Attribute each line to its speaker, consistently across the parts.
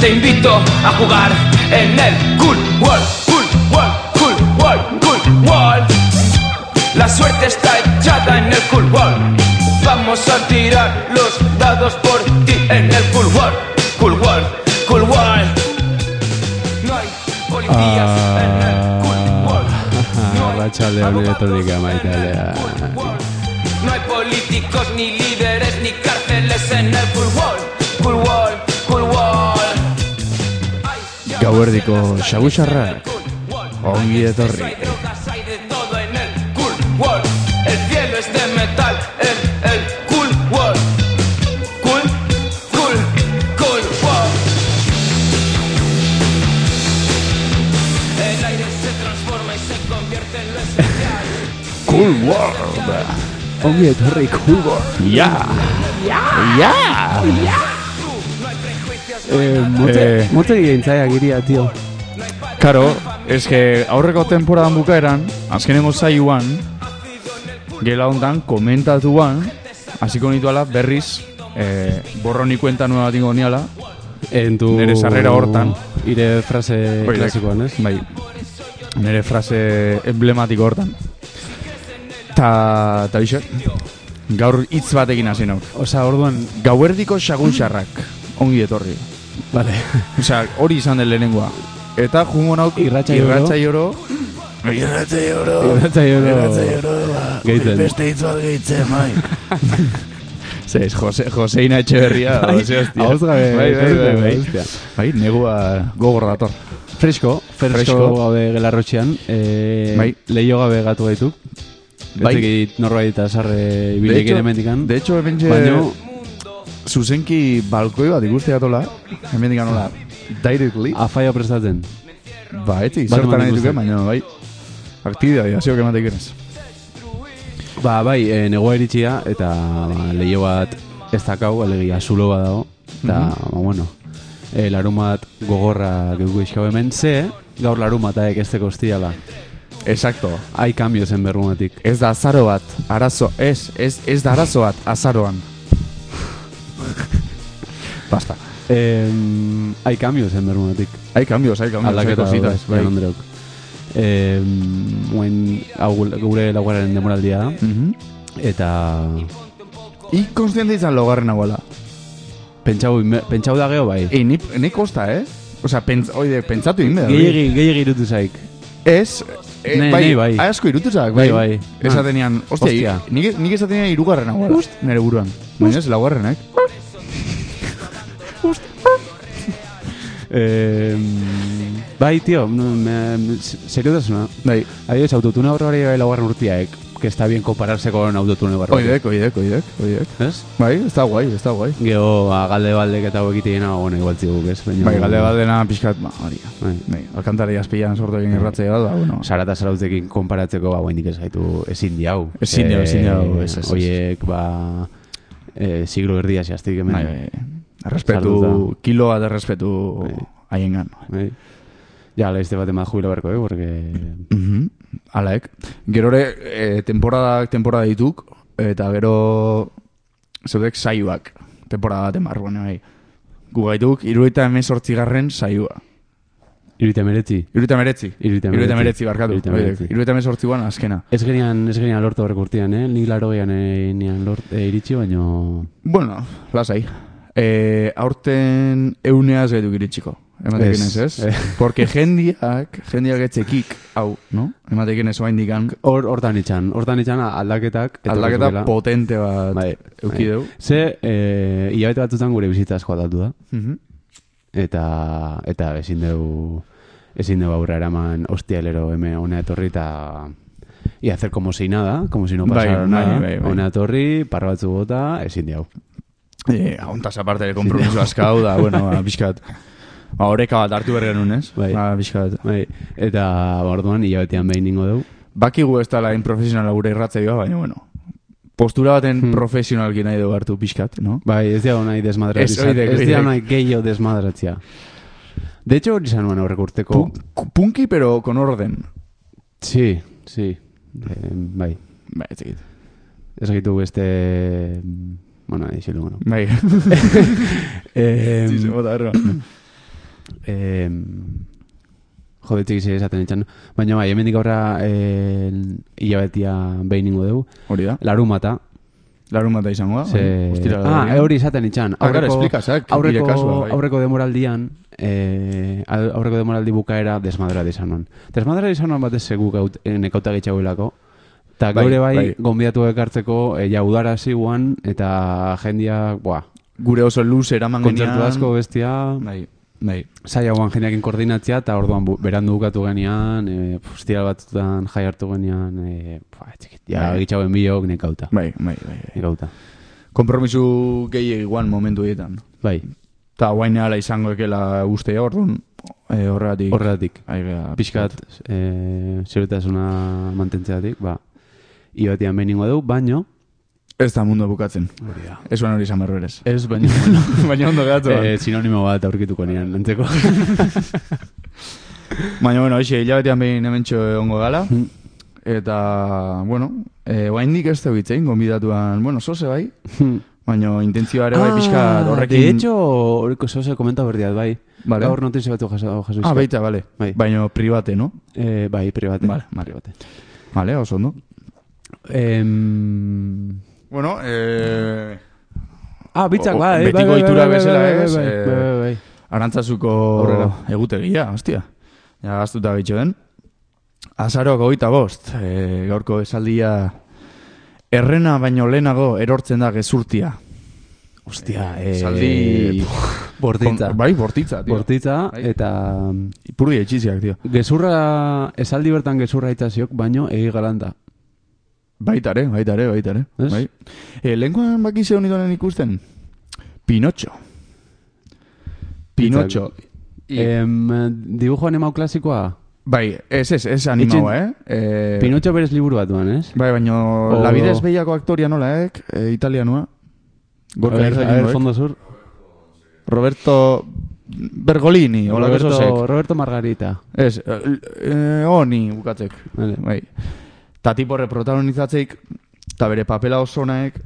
Speaker 1: Te invito a jugar en el Cool World, Cool World, Cool World, Cool World. La suerte está echada en el Cool World. Vamos a tirar los dados por ti en el Cool World, Cool World, Cool World. No hay policías en el Cool World. No hay
Speaker 2: Arratsaldeon,
Speaker 1: abogados
Speaker 2: electrónica,
Speaker 1: en el
Speaker 2: maitalea.
Speaker 1: Cool World. No hay políticos ni líderes ni cárceles en el Cool World, Cool World, Cool World.
Speaker 2: Gauerdiko sagusarrak, ongi etorri.
Speaker 1: El cielo es de metal en el cool world. Cool, cool, cool world. El aire se transforma y se convierte en lo esencial.
Speaker 2: Cool World! Ongi etorri Cool World! Ja! Ja! Ja!
Speaker 3: Eh, mote,
Speaker 2: Eh.
Speaker 3: mote gintzaia giria, tio.
Speaker 2: Karo, eske aurreko temporadan bukaeran, azkenengo zaiuan, gela hontan, komentatuan, hasiko nituala berriz, eh, borroni kuenta nueva tingo niala,
Speaker 3: Entu...
Speaker 2: Nere sarrera hortan.
Speaker 3: Ire frase
Speaker 2: Oilek.
Speaker 3: Eh, klasikoan, ez?
Speaker 2: bai, nire frase emblematiko hortan. Ta, ta bixe, gaur hitz batekin hasi nauk.
Speaker 3: Osa, orduan,
Speaker 2: Gauerdiko xagunsarrak, ongi etorri.
Speaker 3: bale,
Speaker 2: Osea, hori izan den lehenengoa. Eta jungo nauk
Speaker 3: Irratsaio oro.
Speaker 2: oro.
Speaker 4: Irratzaio oro.
Speaker 3: Irratsaio oro.
Speaker 4: Irratzaio oro.
Speaker 3: Gehitzen.
Speaker 4: Guri Beste hitz bat gehitzen, bai.
Speaker 2: Zeis, Jose, Joseina Etxeberria.
Speaker 3: Bai,
Speaker 2: Jose, hostia.
Speaker 3: ahhoz gabe,
Speaker 2: Bai, bai, bai, bai.
Speaker 3: hostia.
Speaker 2: Bai, negua gogor dator.
Speaker 3: fresko, fresko,
Speaker 2: Fresko.
Speaker 3: gabe gelarrotxean, eh,
Speaker 2: Bai.
Speaker 3: leio gabe gatu gaituk.
Speaker 2: Bai.
Speaker 3: Bai. Ez dakit norbait eta sarre
Speaker 2: De
Speaker 3: ibilik
Speaker 2: hecho-
Speaker 3: ere mendikan.
Speaker 2: De hecho, eh, hemen je-
Speaker 3: Baino,
Speaker 2: zuzenki balkoi bat ikuste gatola. Hemen digan nola. Directly.
Speaker 3: afaia prestatzen.
Speaker 2: Ba, eti,
Speaker 3: bat
Speaker 2: zertan
Speaker 3: eman
Speaker 2: nahi duke,
Speaker 3: ikusten.
Speaker 2: baina, bai. Aktibidadi, hasiok ematek genez.
Speaker 3: Ba, bai, e, negoa iritsia eta ba, leio bat ez dakau, alegia zulo bat dago. Eta,
Speaker 2: Mhm.
Speaker 3: ba, bueno, e, larun bat gogorra geuko iskau hemen, ze gaur larun bat aek ez ba, teko ostiala.
Speaker 2: Exacto.
Speaker 3: Ai kambio zen berrumatik.
Speaker 2: Ez da azaro bat, arazo, ez, ez, ez da arazo bat, azaroan. Basta.
Speaker 3: E, ai kambio zen berrumatik.
Speaker 2: Hay cambios, hay cambios. hay
Speaker 3: Aldaketa
Speaker 2: cositas,
Speaker 3: bai.
Speaker 2: bai.
Speaker 3: Andreok. E, guen, hau gure laugarren demoraldia da.
Speaker 2: Mhm.
Speaker 3: Eta
Speaker 2: Y consciente izan laugarren abuela.
Speaker 3: pentsau, inbe- pentsau da geho bai.
Speaker 2: E, ni, ni kosta, eh? Osa, pentz, oide, pentsatu inbe.
Speaker 3: Gehiegi, gehiegi irutu zaik.
Speaker 2: Ez, eh,
Speaker 3: Ne-
Speaker 2: bai,
Speaker 3: nei bai.
Speaker 2: asko irutuzak, bai.
Speaker 3: Nei bai.
Speaker 2: Esaten nian, hostia,
Speaker 3: Hostia.
Speaker 2: i- nik, nik esaten nian irugarren abuela. Nere buruan. Baina ez, laugarrenak.
Speaker 3: Eh, bai, tio, no, me- seriotasuna.
Speaker 2: Bai.
Speaker 3: Adibidez, autotune horre hori bai laugarren urtiaek, que está bien compararse con autotune barra.
Speaker 2: Oidek, oidek, oidek, oidek.
Speaker 3: Ez?
Speaker 2: Bai, está guai, está guai.
Speaker 3: Geo, ba, galde baldek eta hokitiena, bueno, igual ziguk, ez? Baina,
Speaker 2: Bai, galde bat dena pixkat, ba, hori.
Speaker 3: Bai.
Speaker 2: Bai, alkantari azpilan sortu egin irratzea bat, ba, bueno.
Speaker 3: Sara eta sarautzekin konparatzeko, ba, guendik ez gaitu ezin diau.
Speaker 2: Ezin diau, ezin diau, ez, ez, ez.
Speaker 3: Oiek, ba, eh, siglo erdia zehaztik hemen.
Speaker 2: Bai, bai. Respetu,
Speaker 3: Sartuta.
Speaker 2: kilo bat respetu
Speaker 3: Bai.
Speaker 2: haiengan.
Speaker 3: Bai. Ja, laizte bat emaz jubilo berko, eh, porque...
Speaker 2: Mhm, Alaek. Gero ere, e, temporadak temporada dituk, eta gero zeudek saioak. Temporada baten barruan, bai. Gu gaituk, iruita emezortzigarren saioa.
Speaker 3: Irita meretzi.
Speaker 2: Iruita meretzi.
Speaker 3: Hirurogeita
Speaker 2: Iruita
Speaker 3: hemeretzi,
Speaker 2: meretzi, barkatu.
Speaker 3: hirurogeita hemeretzi.
Speaker 2: Iruita emezortziguan azkena.
Speaker 3: Ez genian, ez genian lortu horrek urtean, eh? Nik laro gean eh, nian lort, eh, iritsi, baino...
Speaker 2: Bueno, lasai. E, aurten euneaz gaituk iritsiko. Ematekin ez,
Speaker 3: Ez.
Speaker 2: ez?
Speaker 3: Eh.
Speaker 2: Porque jendiak, jendiak etzekik, hau, no? Ematekin ez oain dikan,
Speaker 3: Hor, hortan itxan, hortan itxan aldaketak... etorri
Speaker 2: aldaketa
Speaker 3: zutela.
Speaker 2: potente bat
Speaker 3: Bai, bai.
Speaker 2: eukideu.
Speaker 3: Ze, eh, hilabete batzutan gure bizitza asko aldatu da.
Speaker 2: Mhm.
Speaker 3: Eta, eta ezin dugu... Ezin dugu aurra eraman hostialero hemen ona etorri eta... Y hacer como si nada, como si no
Speaker 2: Bai,
Speaker 3: pasara
Speaker 2: bai,
Speaker 3: nada.
Speaker 2: bai, bai.
Speaker 3: Ona etorri, parra batzu bota, ezin diau.
Speaker 2: Eh, ahuntaz aparte de compromiso askau da, bueno, ba, pixkat. Ba, horeka bat hartu bergen unez.
Speaker 3: Bai.
Speaker 2: Ba, pixkat.
Speaker 3: Bai, eta ba, orduan hilabetean behin ningo dugu.
Speaker 2: Bakigu ez dala inprofesionala gure irratzeioa, baina, bueno, postura baten
Speaker 3: Hmm.
Speaker 2: profesionalki nahi dugu hartu pixkat, no?
Speaker 3: Bai, ez dira nahi desmadratzea.
Speaker 2: Ez, hori da,
Speaker 3: Ez
Speaker 2: hori
Speaker 3: dira
Speaker 2: da.
Speaker 3: nahi gehiago desmadratzea. De hecho, hori izan nuen aurreko urteko.
Speaker 2: Punk, punky, pero con orden.
Speaker 3: Sí, sí. Eh, bai.
Speaker 2: Bai, ez dakit.
Speaker 3: Ez egitu beste... Bueno, eixi lugu, no.
Speaker 2: Bai,
Speaker 3: Eh,
Speaker 2: Sí, se bota erro.
Speaker 3: eh, jode, txiki zire esaten etxan. Baina bai, hemendik aurra eh, hilabetia behin ingo dugu.
Speaker 2: Hori da.
Speaker 3: Larumata.
Speaker 2: Larun bata izango da.
Speaker 3: Ze...
Speaker 2: bai, ostirala
Speaker 3: Ah,
Speaker 2: dagoenean.
Speaker 3: eh, hori izaten itxan.
Speaker 2: Ah, claro, explica, zak, nire
Speaker 3: aurreko,
Speaker 2: kasua, bai.
Speaker 3: aurreko demoraldian, eh, al- aurreko demoraldi bukaera desmadra izan nuen. Desmadra izan nuen batez segu gaut, eh, nekauta getxaguelako. Eta
Speaker 2: Bai,
Speaker 3: geure bai,
Speaker 2: bai.
Speaker 3: gonbidatu ekartzeko, eh, ja udara ziguan, eta jendiak, buah,
Speaker 2: Gure oso luz eraman
Speaker 3: kontzertu asko bestia,
Speaker 2: Bai, bai.
Speaker 3: saia guan jendeakin koordinatzea, eta orduan bu, berandu bukatu genian, eh, pustira batzutan jai hartu genian, eh, buah, txikit, ja,
Speaker 2: Bai.
Speaker 3: getxauen biok nekauta.
Speaker 2: Bai, bai, bai. bai.
Speaker 3: Nekauta.
Speaker 2: Kompromisu gehiegi guan momentu dietan.
Speaker 3: Bai,
Speaker 2: Ta guain ala izango ekela ustea, orduan eh, horregatik.
Speaker 3: horregatik.
Speaker 2: Ai, bea,
Speaker 3: pixkat e, ziurtasuna mantentzeatik, ba, ibatean behin ingo dugu, baino,
Speaker 2: Ez da mundu bukatzen. Ez ban hori izan berro ere ez.
Speaker 3: ez baino, bueno,
Speaker 2: Baina ondo gatu.
Speaker 3: e, sinonimo bat aurkituko nian, antzeko.
Speaker 2: Baina, bueno, eixe, hilabetean behin hementxo ongo gala.
Speaker 3: Mm.
Speaker 2: Eta, bueno, eh, guain dik ez dugu itzein, gonbidatuan, bueno, zoze bai, baina intentzioa ere bai pixka horrekin...
Speaker 3: Ah, De hecho, horreko zoze komenta berdiat, bai.
Speaker 2: Vale.
Speaker 3: Gaur notizio batu jaso, jaso
Speaker 2: Ah, baita, bale.
Speaker 3: Bai.
Speaker 2: Baina private, no?
Speaker 3: E, bai, private.
Speaker 2: Vale.
Speaker 3: private.
Speaker 2: Vale, oso ondo.
Speaker 3: Em,
Speaker 2: Bueno, eh,
Speaker 3: ah, bitzak,
Speaker 2: O-
Speaker 3: bai, bai,
Speaker 2: betiko
Speaker 3: bai, bai,
Speaker 2: ohitura
Speaker 3: bai, bai,
Speaker 2: bezala,
Speaker 3: bai, bai,
Speaker 2: ez?
Speaker 3: bai,
Speaker 2: Eh,
Speaker 3: bai, bai, bai.
Speaker 2: arantzazuko
Speaker 3: Aurrera.
Speaker 2: egutegia, hostia. Ja, gaztuta behitxo den. Azarok hogeita bost, eh, gaurko esaldia errena baino lehenago erortzen da gezurtia.
Speaker 3: Ostia,
Speaker 2: Eh,
Speaker 3: eh,
Speaker 2: esaldi-
Speaker 3: bortitza.
Speaker 2: Kon- Bai, bortitza, tio.
Speaker 3: Bortitza,
Speaker 2: Bai.
Speaker 3: eta
Speaker 2: Ipurdi etxiziak, tio.
Speaker 3: Gezurra, esaldi bertan gezurra itaziok, baino egi galanta.
Speaker 2: Baitare, baitare, baitare.
Speaker 3: Ez?
Speaker 2: Bai. Eh, lenguan baki zeon idonen ikusten? Pinocho. Pinocho. I-
Speaker 3: Em, dibujoan emau klasikoa?
Speaker 2: Bai, ez, ez, ez animau, eh? eh
Speaker 3: Pinotxo berez liburu bat duan, ez?
Speaker 2: Bai, baino,
Speaker 3: O-
Speaker 2: la vida es bellako aktoria nola, eh? E, italianoa. Gorka eh?
Speaker 3: A ver,
Speaker 2: Izaki
Speaker 3: a ver,
Speaker 2: Goek.
Speaker 3: fondo sur.
Speaker 2: Roberto Bergolini, hola
Speaker 3: Roberto,
Speaker 2: Roberto...
Speaker 3: Roberto Margarita.
Speaker 2: Ez, eh, eh, honi bukatzek.
Speaker 3: Vale.
Speaker 2: Bai. Ta tipo reprotagonizatzeik, ta bere papela oso naek,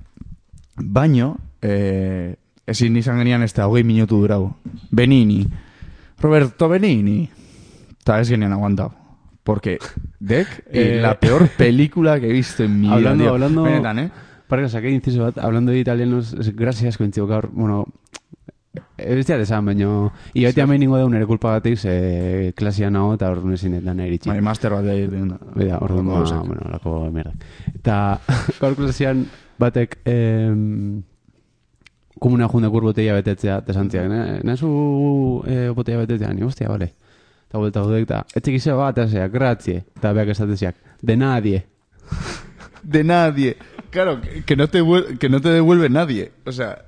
Speaker 2: baino, eh, ezin izan genian ez da hogei minutu durau. Benini. Roberto Benini. Ta ez genian aguantau. Porque, Dek,
Speaker 3: Eh,
Speaker 2: eh, la peor película que he visto en mi vida.
Speaker 3: Hablando-
Speaker 2: tío.
Speaker 3: hablando-
Speaker 2: Benetan, eh?
Speaker 3: Parka, saque inciso bat, hablando de italianos, es- gracias, kointzio gaur, bueno, ez diat esan, baino, ibetia sí. ningo daun ere kulpagatik, ze klasia nago eta hor nezin edan eritxi.
Speaker 2: Bai, master bat da egiten da.
Speaker 3: Beda, orduan, ba,
Speaker 2: Gauzak.
Speaker 3: bueno, lako merda. Eta gaur klasian batek em, komuna jundakur botella betetzea desantziak, ne? Nazu eh, botella betetzea, ni hostia, vale. Eta buelta dudek, eta etxik izan bat, azea, grazie, eta beak esateziak, de nadie.
Speaker 2: De nadie. Claro, que, que no te, vuel- que no te devuelve nadie. O sea,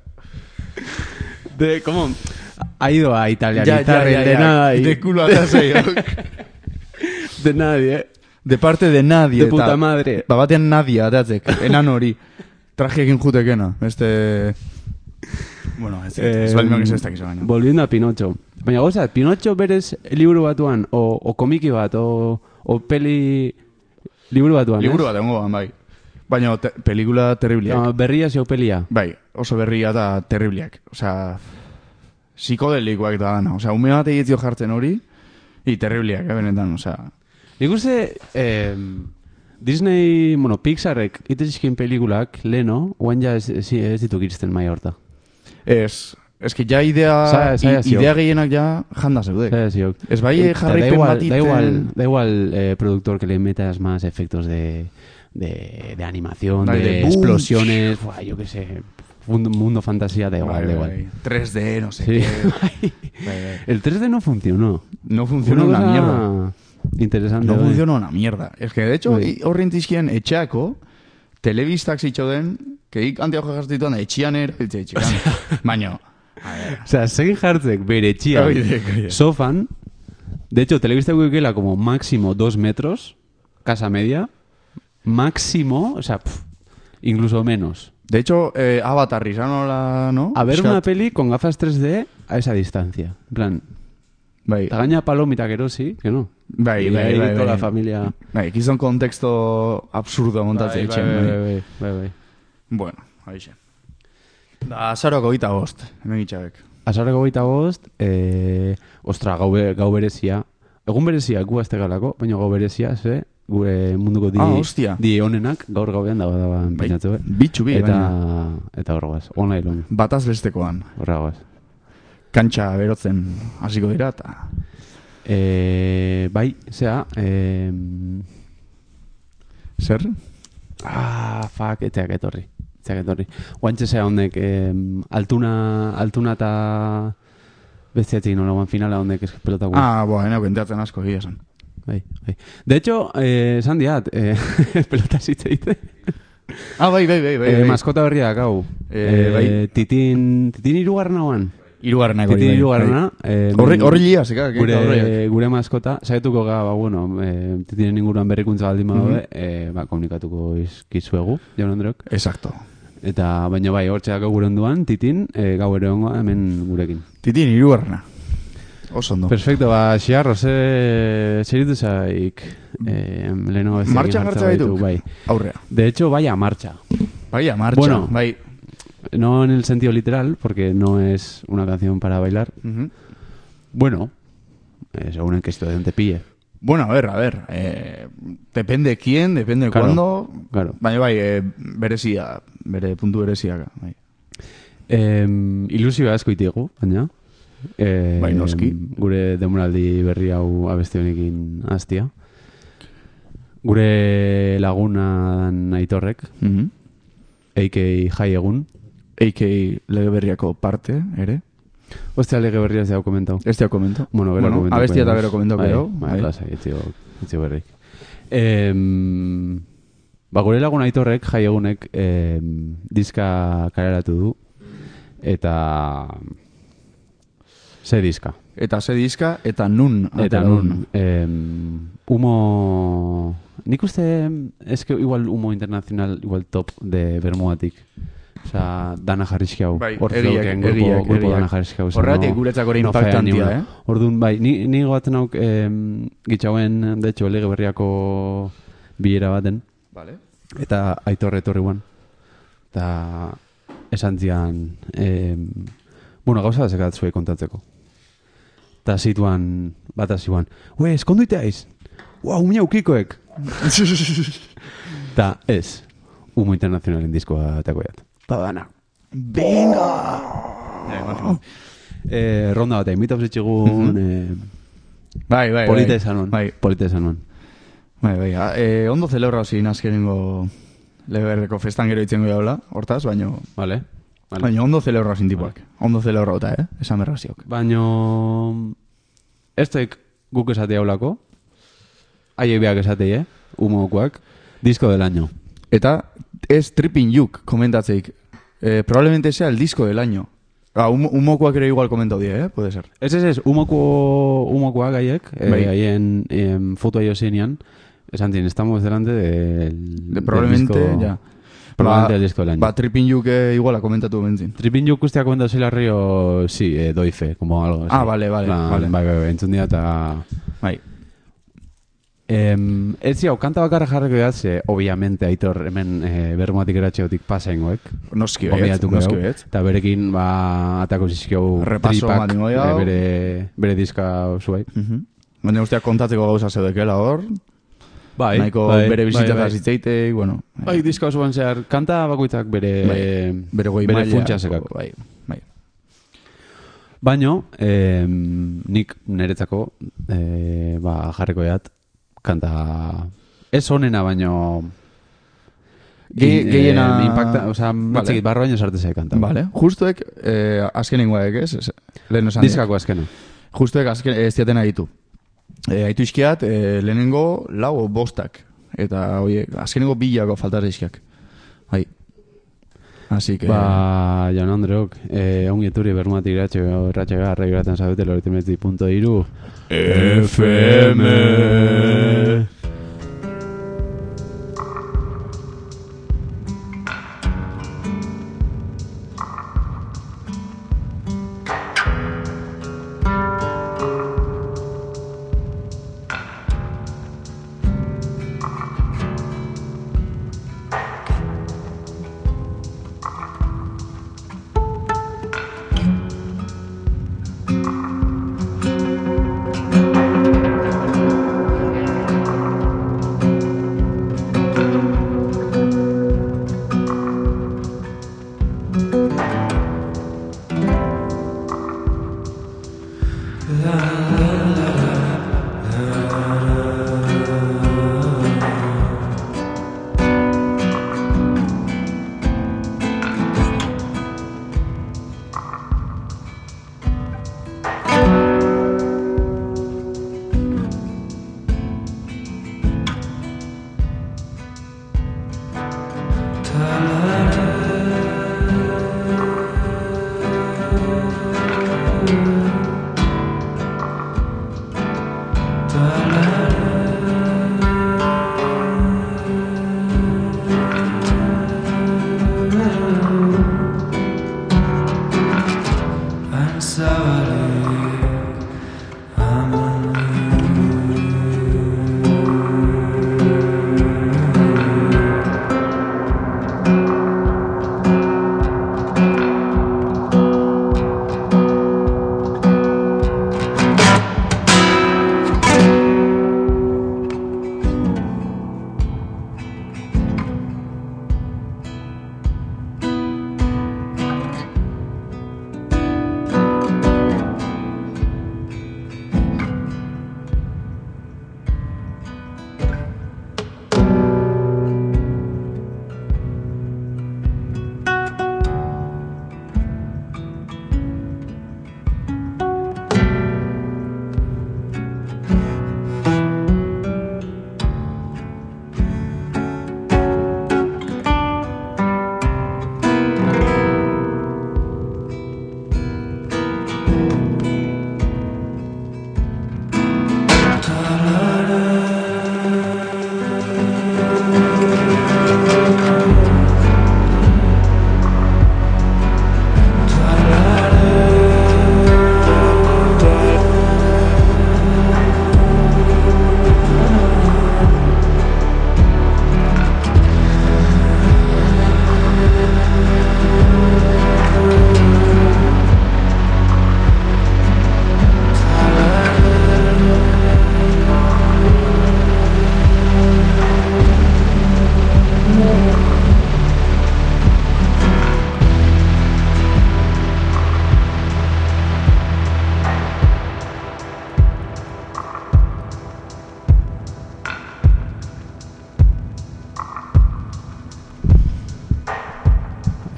Speaker 3: De, como, ha ido a Italia,
Speaker 2: Ya, ya, ya,
Speaker 3: de
Speaker 2: ya.
Speaker 3: nadie.
Speaker 2: De culo atrás, eh.
Speaker 3: de nadie.
Speaker 2: De parte de nadie.
Speaker 3: De puta madre.
Speaker 2: Ba batean nadie atatzek, enan hori. Trajeekin jutekena. Beste... Bueno, ez,
Speaker 3: Eh,
Speaker 2: ez, ez baldin ez ez dakizu baina.
Speaker 3: Em, Volviendo a Pinocho. Baina goza, Pinocho berez liburu batuan, o, o komiki bat, o, o peli liburu batuan, eh? ez?
Speaker 2: Liburu bat egongo ban, bai. Baina te, pelikula terribliak.
Speaker 3: No, berria zeu pelia.
Speaker 2: Bai, oso berria eta terribliak. Osea, psikodelikoak da dana. Osea, ume bat egitio jartzen hori, i terribliak, eh, benetan, osea...
Speaker 3: Nik uste, eh, Disney, bueno, Pixarrek itezizkin pelikulak, leno, guain ja ez, ez, ez ditu giristen maia horta.
Speaker 2: Ez, ez que ja idea,
Speaker 3: Sa- saia
Speaker 2: i-
Speaker 3: ziok.
Speaker 2: idea gehienak ja janda zeudek.
Speaker 3: Zer ez jok.
Speaker 2: Ez bai, eh,
Speaker 3: Eta
Speaker 2: jarraipen
Speaker 3: da igual,
Speaker 2: bat
Speaker 3: Da
Speaker 2: iten-
Speaker 3: igual, da igual eh, productor que le metas más efectos de, de, de animación,
Speaker 2: Dai,
Speaker 3: de,
Speaker 2: de boom.
Speaker 3: explosiones, buah, yo qué sé, mundo, mundo fantasía, da igual, da
Speaker 2: Bai, bai,
Speaker 3: igual.
Speaker 2: bai. 3D, no sé
Speaker 3: Sí.
Speaker 2: qué.
Speaker 3: El 3D no funcionó.
Speaker 2: No funciona Eh, una,
Speaker 3: cosa
Speaker 2: mierda.
Speaker 3: Interesante.
Speaker 2: No
Speaker 3: bai.
Speaker 2: funciona una mierda. Es que, de hecho,
Speaker 3: Bai.
Speaker 2: horren tizkien etxeako, telebistak zitxo den, que ik antia hoja jartzituan, etxian erabiltzea etxikan. Baina,
Speaker 3: Osea, zein jartzek bere etxia
Speaker 2: Oide, oide.
Speaker 3: sofan, de hecho, telebista gukela como máximo dos metros, casa media, máximo, o sea, pf, incluso menos.
Speaker 2: De hecho, eh, Avatar izan hola, no?
Speaker 3: A ver
Speaker 2: Pixkat,
Speaker 3: una peli con gafas 3D a esa distancia. En plan,
Speaker 2: Bai,
Speaker 3: eta gaina palomita gero, sí, que no.
Speaker 2: bai,
Speaker 3: Y
Speaker 2: bai,
Speaker 3: ahí
Speaker 2: bai,
Speaker 3: toda
Speaker 2: bai.
Speaker 3: la familia.
Speaker 2: Bai, gizon konteksto absurdo
Speaker 3: bai,
Speaker 2: montatzen etxen, bai.
Speaker 3: bai, bai, bai.
Speaker 2: Bueno, haixe. Da, azaroko gita bost, hemen itxabek.
Speaker 3: Azareko gaita bost, e, ostra, gau, be- gau berezia. Egun berezia, gu azte galako, baina gau berezia, ze, gure munduko di,
Speaker 2: Ah, hostia.
Speaker 3: di onenak, gaur gauean dago dago
Speaker 2: Bai,
Speaker 3: pinatu, eh?
Speaker 2: bitxu bi,
Speaker 3: eta,
Speaker 2: baina.
Speaker 3: Eta hor guaz, ona ilun,
Speaker 2: Bataz bestekoan.
Speaker 3: hor guaz.
Speaker 2: Kantxa berotzen hasiko dira, eta...
Speaker 3: E, bai, zea, e,
Speaker 2: Zer?
Speaker 3: ah, fuck, eteak etorri. Eteak etorri. Guantxe zea honek, em, altuna, altuna eta bestiatik nola guan finala honek eske pelota guan.
Speaker 2: Ah, boa, enau kentatzen asko egia esan.
Speaker 3: Bai, bai. De hecho, eh, esan diat, eh, pelota zitze dite.
Speaker 2: Ah, bai, bai, bai, bai.
Speaker 3: Eh,
Speaker 2: bai.
Speaker 3: maskota berriak, hau.
Speaker 2: Eh, bai.
Speaker 3: Titin, titin irugarna hoan.
Speaker 2: Hirugarrenak hori,
Speaker 3: Titin
Speaker 2: bai,
Speaker 3: irugarna. Eh,
Speaker 2: bai. Horri, horri lia, zeka, gure...
Speaker 3: Gure, gure maskota, saietuko ga, ba, bueno, eh, titinen inguruan berrikuntza baldin badu,
Speaker 2: Mhm.
Speaker 3: eh, ba, komunikatuko izkizuegu, jaun Andreok.
Speaker 2: Exacto.
Speaker 3: Eta, baina bai, hortxe dago gure onduan, titin, eh, gau ere ongoa, hemen gurekin.
Speaker 2: Titin, hirugarrena. Oso ondo.
Speaker 3: Perfecto, ba, xiar, rose, zeritu zaik, eh, lehenago ez
Speaker 2: Martxan jartza baituk?
Speaker 3: Bai.
Speaker 2: Aurrea.
Speaker 3: De hecho, vaya marcha.
Speaker 2: Baia, marcha.
Speaker 3: Bueno.
Speaker 2: bai.
Speaker 3: No en el sentido literal, porque no es una canción para bailar.
Speaker 2: Mhm.
Speaker 3: Bueno, eh, según en qué situación te pille.
Speaker 2: Bueno, a ver, a ver. Eh, depende quién, depende
Speaker 3: Claro,
Speaker 2: cuándo.
Speaker 3: claro.
Speaker 2: Baina bai, eh, berezia, bere puntu bereziak. Bai.
Speaker 3: Eh, ilusioa asko itigu, baina. Eh,
Speaker 2: Bai, noski.
Speaker 3: Gure demoraldi berri hau abeste honekin hastia. Gure laguna aitorrek,
Speaker 2: Mhm.
Speaker 3: eikei jai egun.
Speaker 2: AK lege berriako parte, ere.
Speaker 3: Ostia, lege berria ez dago komentau.
Speaker 2: Ez diak komento.
Speaker 3: Bueno, gero
Speaker 2: bueno,
Speaker 3: komentatuko
Speaker 2: Abestia eta
Speaker 3: dugu.
Speaker 2: gero komentako
Speaker 3: Bai,
Speaker 2: dugu,
Speaker 3: Bai,
Speaker 2: bai.
Speaker 3: lasai, etxio, etxio berrik. Em, ba, gure lagun aitorrek, jaiegunek, em, diska kaleratu du. Eta... Ze diska.
Speaker 2: Eta ze diska, eta nun.
Speaker 3: Eta
Speaker 2: atera
Speaker 3: nun,
Speaker 2: duna.
Speaker 3: em, humo... Nik uste, eske igual humo internacional, igual top de Bermudatik. Osa, dana jarrizki hau.
Speaker 2: Bai,
Speaker 3: Hor
Speaker 2: egiak,
Speaker 3: zeuden grupo-
Speaker 2: egiak,
Speaker 3: grupo
Speaker 2: egiak.
Speaker 3: dana jarrizki hau.
Speaker 2: Horregatik guretzako hori
Speaker 3: fea
Speaker 2: impactantia,
Speaker 3: ni una.
Speaker 2: eh?
Speaker 3: Orduan, bai, ni, ni goatzen hauk em, gitxauen, de hecho, lege berriako bilera baten.
Speaker 2: Vale.
Speaker 3: Eta aitorre etorri guan. Eta esan zian... em, bueno, gauza zekat zuei kontatzeko. Eta zituan, bat azioan, Ue, eskonduiteaiz! Ua, umia ukikoek! Eta ez, humo internazionalen diskoa atakoiat. Eta
Speaker 2: Ba,
Speaker 3: dana.
Speaker 2: Bai,
Speaker 3: Eh, ronda bat, imita zitxigun... eh,
Speaker 2: Bai, Mhm. bai,
Speaker 3: polita
Speaker 2: bai.
Speaker 3: esan hon.
Speaker 2: Bai,
Speaker 3: Polita esan hon.
Speaker 2: bai, bai. Ah, eh, ondo celebra zin azkenengo lege berriako festan gero itzen gure habla, hortaz, baino...
Speaker 3: Vale?
Speaker 2: Baina ondo celebra zin tipuak. Ondo celebra ota, eh? Esan berra ziok.
Speaker 3: Baino... Ez tek guk esate haulako. Aiek beak esatei, eh? Humokoak. Disko del año.
Speaker 2: Eta ez tripping juk komentatzeik. Eh, probablemente sea el disco del año. Ah, humo- humokoak ere igual komentau die, eh? Puede ser.
Speaker 3: Ez ez ez, humoko, humokoak aiek, eh,
Speaker 2: Bai.
Speaker 3: haien em, foto aio zinean, esan zin, estamos delante del,
Speaker 2: De, probablemente,
Speaker 3: del disco,
Speaker 2: ya.
Speaker 3: Probablemente
Speaker 2: Ba-
Speaker 3: del disco del año.
Speaker 2: Ba, trippin juke iguala komentatu bentzin.
Speaker 3: Tripin juk usteak komentau zela río, sí, eh, doy fe, como algo.
Speaker 2: Ah, vale, vale,
Speaker 3: Plan,
Speaker 2: vale.
Speaker 3: Bai, bai, bai, entzun dira eta...
Speaker 2: Bai.
Speaker 3: Em, ez ziau, kanta bakarra jarriko da, ze, obviamente, aitor, hemen eh, bermoatik eratxeotik pasaingoek.
Speaker 2: Noski baiet,
Speaker 3: Gonbidatuko
Speaker 2: noski
Speaker 3: dugu.
Speaker 2: baiet.
Speaker 3: Eta berekin, ba, atako zizkiau
Speaker 2: Repaso
Speaker 3: tripak,
Speaker 2: ematen goi
Speaker 3: eh,
Speaker 2: hau.
Speaker 3: bere, bere diska zuai.
Speaker 2: Mhm. Baina usteak kontatzeko gauza zeudekela hor.
Speaker 3: Bai,
Speaker 2: Nahiko bere bizitzaz bai, bueno.
Speaker 3: Bai, diska osoan zehar, kanta bakoitzak bere,
Speaker 2: Bai, bere goi
Speaker 3: bere
Speaker 2: maila,
Speaker 3: funtsasekak.
Speaker 2: Bai, bai.
Speaker 3: Baino, eh, nik niretzako, eh, ba, jarriko eat, kanta... Ez onena, baino...
Speaker 2: Ge-
Speaker 3: in-
Speaker 2: gehiena-
Speaker 3: Eh, impacta, oza,
Speaker 2: Vale.
Speaker 3: vale. barro baino sartu zei kanta.
Speaker 2: Vale. Justuek, eh, azkenengoek, ez? Ez- Lehen esan. dut.
Speaker 3: Diskako azkena.
Speaker 2: Justuek azken, ez diaten aditu. E, aitu iskiat, e, lehenengo lau o bostak. Eta, oie, azkenengo bilako falta zaizkiak. Bai. Así que...
Speaker 3: Ba, Jan Andreok, eh, ongi etorri bermatik ratxe, ratxe gara, regraten zabete, loretimetzi punto iru. E.
Speaker 2: FM.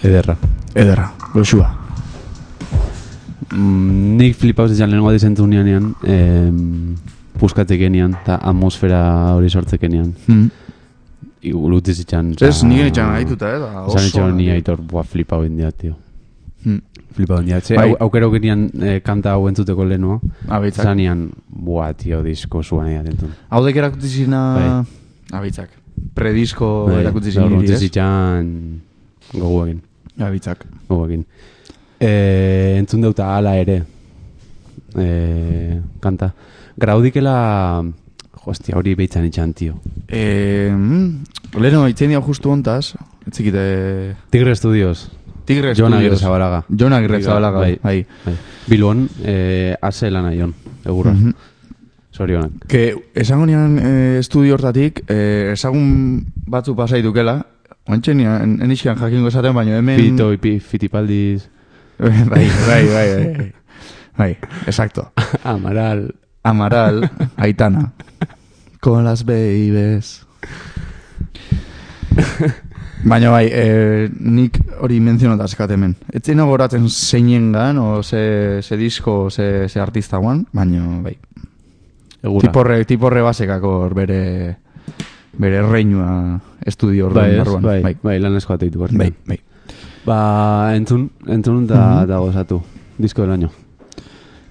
Speaker 3: Ederra.
Speaker 2: Ederra, goxua.
Speaker 3: Mm, nik flipauz izan lehenengo aldiz entzun nianean, em, puskatekenean, eta atmosfera hori sortzekenean.
Speaker 2: Mm.
Speaker 3: Igulutzi zitzan.
Speaker 2: Ez, nire etxan gaituta, eh? da
Speaker 3: Zan
Speaker 2: oso-
Speaker 3: etxan ni aitor, bua, flipau indiat, tio.
Speaker 2: Mm.
Speaker 3: Flipau indiat. Ze,
Speaker 2: Bai.
Speaker 3: au- aukero genian eh, kanta hau entzuteko lehenua.
Speaker 2: Abitzak.
Speaker 3: Zanian, buah, tio, disko zuan egin atentun.
Speaker 2: Hau dek erakutsi
Speaker 3: Bai.
Speaker 2: zina... Abitzak. Predisko erakutsi zina niri,
Speaker 3: Erakutzi
Speaker 2: ez?
Speaker 3: zitzan goguakin.
Speaker 2: Abitzak.
Speaker 3: Goguakin. E, entzun deuta ala ere. E, kanta. Graudikela... Hostia, hori behitzan itxan, tio.
Speaker 2: Eh, mm, leheno haitzen dia justu hontaz, etzikite...
Speaker 3: Tigre Studios.
Speaker 2: eh, Tigre
Speaker 3: Jon Agirre
Speaker 2: Studios.
Speaker 3: Zabalaga.
Speaker 2: Jon Agirre Zabalaga,
Speaker 3: Bai.
Speaker 2: bai.
Speaker 3: Bai. Bilbon, e, ase lan aion. Egurra.
Speaker 2: Mhm.
Speaker 3: Sorionak.
Speaker 2: Ke, esango nian eh, estudio hortatik, eh, esagun batzu pasaitukela, oantxe nian, enixian jakingo esaten, baina hemen...
Speaker 3: Pito, ipi, fitipaldiz...
Speaker 2: bai, bai, bai, bai. Bai, exacto.
Speaker 3: Amaral...
Speaker 2: Amaral, Aitana. Con las babies. Baina bai, eh, nik hori menzionata eskat hemen. Etzen goratzen zeinengan, o ze, ze disko, ze, ze artista guan, baina bai.
Speaker 3: Egurra.
Speaker 2: Tiporre, tiporre basekako bere, bere reinua estudio horren
Speaker 3: bai, ez?
Speaker 2: barruan.
Speaker 3: bai,
Speaker 2: bai,
Speaker 3: bai, lan eskoa teitu.
Speaker 2: bai, bai.
Speaker 3: Ba, entzun, entzun da,
Speaker 2: Mhm.
Speaker 3: da gozatu. Disko del año.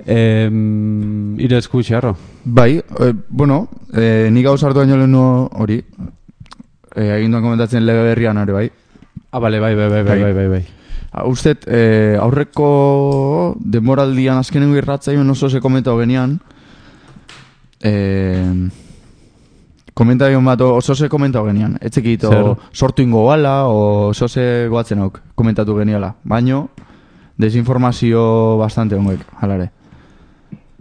Speaker 3: Em, ire esku xarro.
Speaker 2: Bai, eh, bueno, eh, nik hau sartu baino lehenu hori, eh, aginduan komentatzen lege berrian hori bai.
Speaker 3: Ah, bale, bai, bai, bai, bai, bai, bai, bai.
Speaker 2: Ha, Ustet, eh, aurreko demoraldian azkenengo irratzaioen oso ze komentau genian. Eh, komentarion bat oso ze komentau genian. Etzekit,
Speaker 3: Zer?
Speaker 2: o, sortu ingo gala, o oso ze goatzen auk, komentatu geniala. Baino, desinformazio bastante ongoek, halare.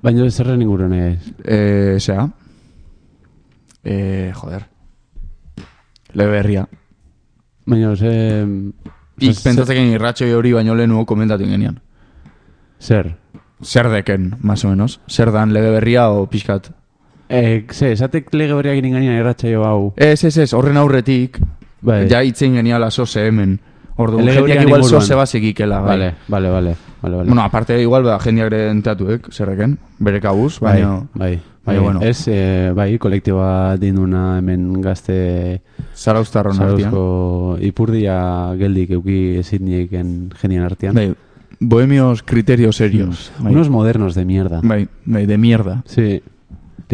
Speaker 3: Baina zerren inguruan ez.
Speaker 2: Eh, sea. Eh, joder. Lebe berria.
Speaker 3: Baina ze...
Speaker 2: Ik
Speaker 3: ze-
Speaker 2: pentsatzen irratxo hori baino lehenu komentatu genian.
Speaker 3: Zer.
Speaker 2: Zer deken, más o menos. Zer dan lege berria o pixkat.
Speaker 3: Eh, ze, esatek lege berriak egin gainean erratxaio hau.
Speaker 2: Ez, ez, ez, horren aurretik,
Speaker 3: Bai.
Speaker 2: ja itzen geniala soze hemen. Ordu,
Speaker 3: Lege
Speaker 2: jendeak
Speaker 3: berrian
Speaker 2: igual
Speaker 3: inguruan.
Speaker 2: soze bazekikela. Bai.
Speaker 3: Vale, vale, vale, vale, vale.
Speaker 2: Bueno, aparte igual, ba, jendeak ere entatuek, zer deken, bere kabuz,
Speaker 3: bai,
Speaker 2: baina...
Speaker 3: bai, bai,
Speaker 2: baina, bueno.
Speaker 3: Ez, eh, bai, kolektiba dinduna hemen gazte
Speaker 2: Zarauztarron artean.
Speaker 3: zarauzko ipurdia geldik euki ezin nieken genian artean.
Speaker 2: Bai, bohemios criterios serios.
Speaker 3: bai. Unos modernos de mierda.
Speaker 2: Bai, bai, de mierda.
Speaker 3: Sí.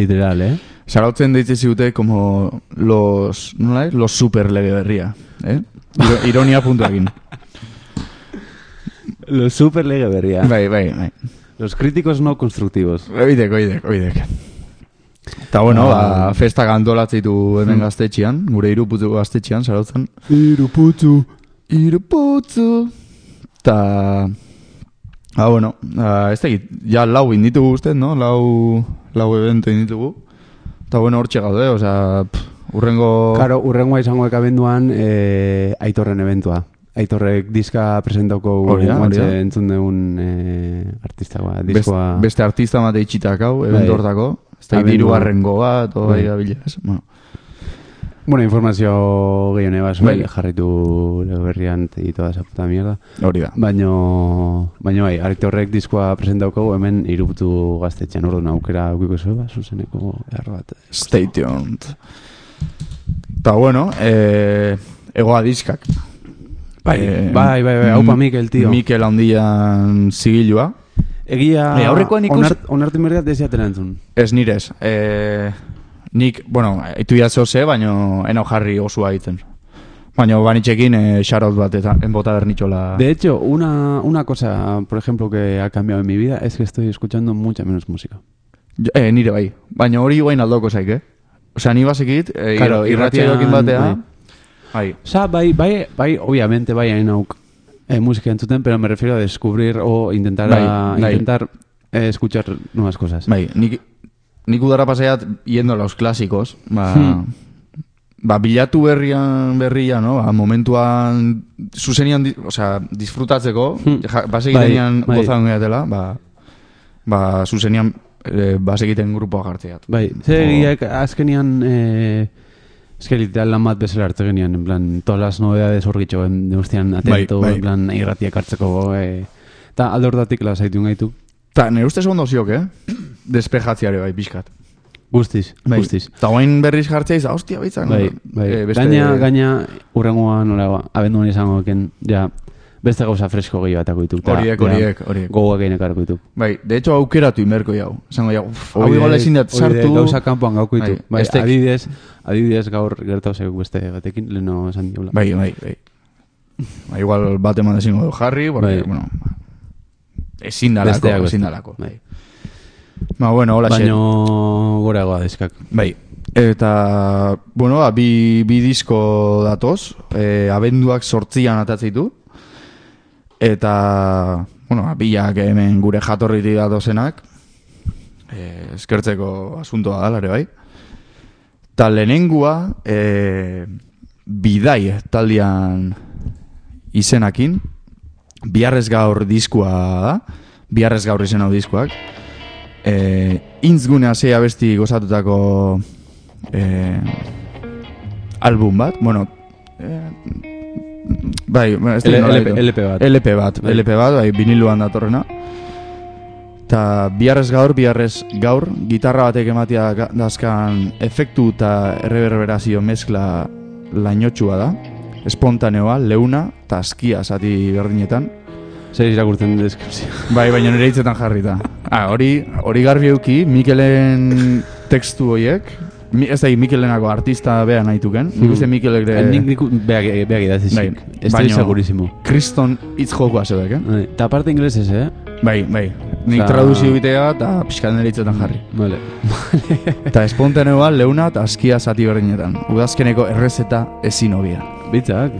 Speaker 3: literal, eh?
Speaker 2: Zarautzen deitzen zigute como los, nola es? Los super lege berria, eh? Iro- Ironia puntuakin.
Speaker 3: Los super lege berria.
Speaker 2: bai, bai, bai.
Speaker 3: Los críticos no constructivos.
Speaker 2: Oidek, oidek, oidek. Eta bueno,
Speaker 3: Ah.
Speaker 2: ba, festak antolatzen ditu hemen gaztetxean, gure iruputu gaztetxean, zarautzen.
Speaker 3: Iruputzu.
Speaker 2: Iruputzu. Ta... Ah, bueno, ah, ez dakit, ja lau inditugu uste, no? Lau, lau evento inditugu. Eta bueno, hor gaude, osea, pff, urrengo...
Speaker 3: Karo, urrengoa izango ekabenduan eh, aitorren eventua. Aitorrek diska presentauko
Speaker 2: Hori da, hori
Speaker 3: guantxe
Speaker 2: da.
Speaker 3: entzun deun eh, artista ba,
Speaker 2: Best-
Speaker 3: diskoa.
Speaker 2: beste artista mate itxitak hau,
Speaker 3: Bai.
Speaker 2: evento hortako. Ez da,
Speaker 3: Abendua.
Speaker 2: diru arrengo bat, o bai,
Speaker 3: Bai.
Speaker 2: gabilaz. Bueno,
Speaker 3: Bueno, informazio gehione bas,
Speaker 2: Bai.
Speaker 3: bai. jarritu lego berrian y toda esa puta mierda.
Speaker 2: hori da.
Speaker 3: Baino, baino bai, aitorrek diskoa presentauko hemen iruputu gaztetxean. Orduan aukera aukiko zuen, ba, zuzeneko erro bat.
Speaker 2: Stay tuned. Eta bueno, eh, egoa diskak.
Speaker 3: Bai,
Speaker 2: Eh,
Speaker 3: bai, bai, bai, haupa Mikel, tio.
Speaker 2: Mikel handian zigilua.
Speaker 3: Egia,
Speaker 2: Eh, aurrekoan ikus-
Speaker 3: onart, onartu mergat desiatela entzun.
Speaker 2: Ez nirez. E, nik, bueno, eitu jazo ze, eh, baino eno jarri osua egiten. Baino banitxekin e, xarot bat eta enbota bernitxola.
Speaker 3: De hecho, una, una cosa, por ejemplo, que ha cambiado en mi vida es que estoy escuchando mucha menos música.
Speaker 2: Jo, eh, nire bai. Baina hori guain aldoko zaik, eh? Osea, ni bazekit,
Speaker 3: Claro,
Speaker 2: e, claro, irratxeiokin
Speaker 3: irratian,
Speaker 2: batea. Bai.
Speaker 3: O sea, bai, bai, bai, obviamente, bai, hain auk eh, música entzuten, pero me refiero a descubrir o intentar, a-
Speaker 2: Bai, bai.
Speaker 3: intentar eh, escuchar nuevas cosas.
Speaker 2: Bai, nik, nik udara paseat yendo a los clásicos, ba,
Speaker 3: Hmm.
Speaker 2: ba bilatu berrian berria, no? Ba, momentuan zuzenian, di, osea, disfrutatzeko,
Speaker 3: Hmm.
Speaker 2: ja,
Speaker 3: Bai,
Speaker 2: basekitenean
Speaker 3: bai.
Speaker 2: gozan gehatela, ba, ba zuzenian e, basekiten grupoa jartzeat.
Speaker 3: Bai, ze egiak azkenian... Eh, Es que literal lan bat bezala hartu genian, en plan, todas las novedades horritxo, en deustian atento,
Speaker 2: bai.
Speaker 3: en plan, irratiak hartzeko, eh, eta alde hortatik lasaitun gaitu.
Speaker 2: Ta, nire uste segundo ziok, eh? Despejatziare bai, pixkat. Bai.
Speaker 3: Guztiz, guztiz.
Speaker 2: Ta guain berriz jartzea izan, hostia, baitzan.
Speaker 3: Bai, bai.
Speaker 2: eh, beste-
Speaker 3: Gaina, gaina, urrengoa nola, ba, abenduan izango eken, ja, beste gauza fresko gehi batako dituk. ta,
Speaker 2: Horiek,
Speaker 3: ja,
Speaker 2: horiek, horiek.
Speaker 3: Gogoak egin ekarko dituk.
Speaker 2: Bai, de hecho aukeratu inberko jau. Esango jau, uf, hau igual ezin dut
Speaker 3: Hori de,
Speaker 2: sartu.
Speaker 3: Gauza kanpoan gauko dituk.
Speaker 2: Bai,
Speaker 3: Bai,
Speaker 2: estek.
Speaker 3: adibidez, adibidez gaur gertau zego beste batekin, leheno esan diula.
Speaker 2: Bai, bai, bai. Ba, igual bat eman ezingo du jarri, porque,
Speaker 3: Bai.
Speaker 2: bueno, ezin dalako,
Speaker 3: Besteak beste.
Speaker 2: ezin dalako.
Speaker 3: Bai.
Speaker 2: Ba, bueno, hola,
Speaker 3: Baino gora goa deskak.
Speaker 2: Bai. Eta, bueno, ba, bi, bi disko datoz, e, abenduak sortzian atatzitu, eta, bueno, ba, biak hemen gure jatorritik datozenak, e, eskertzeko asuntoa da, lare bai. Eta lehenengua, e, bidai taldean izenakin, biarrez gaur diskua da, biarrez gaur izen hau diskoak, e, intzgune azea besti gozatutako e, album bat, bueno, e, bai, ez dakit
Speaker 3: L-
Speaker 2: nola
Speaker 3: LP
Speaker 2: deitu.
Speaker 3: LP bat.
Speaker 2: LP bat,
Speaker 3: Bai.
Speaker 2: LP bat, bai, viniluan datorrena. Eta biharrez gaur, biharrez gaur, gitarra batek ematea ga- dazkan efektu eta erreberberazio mezkla lainotxua da. Espontaneoa, leuna eta askia zati berdinetan.
Speaker 3: Zer irakurtzen deskripzio.
Speaker 2: Bai, baina nire hitzetan jarrita. Ah, hori, hori garbi euki, Mikelen tekstu hoiek, mi, ez da, Mikelenako artista bea nahituken, nik uste Mikelek
Speaker 3: Eh,
Speaker 2: de
Speaker 3: Nik nik beak beak idatzi
Speaker 2: Bai.
Speaker 3: zik. Estoy
Speaker 2: Baino-
Speaker 3: segurísimo.
Speaker 2: kriston hitz jokoa zedek, eh?
Speaker 3: Bai. Ta parte inglesez, eh?
Speaker 2: Bai, bai, nik
Speaker 3: Osea-
Speaker 2: traduzio egitea eta pixkan nire hitzetan jarri.
Speaker 3: Vale.
Speaker 2: Eta espontaneoa, leuna eta askia zati berdinetan, udazkeneko errezeta ezin hobia.
Speaker 3: Bitzak.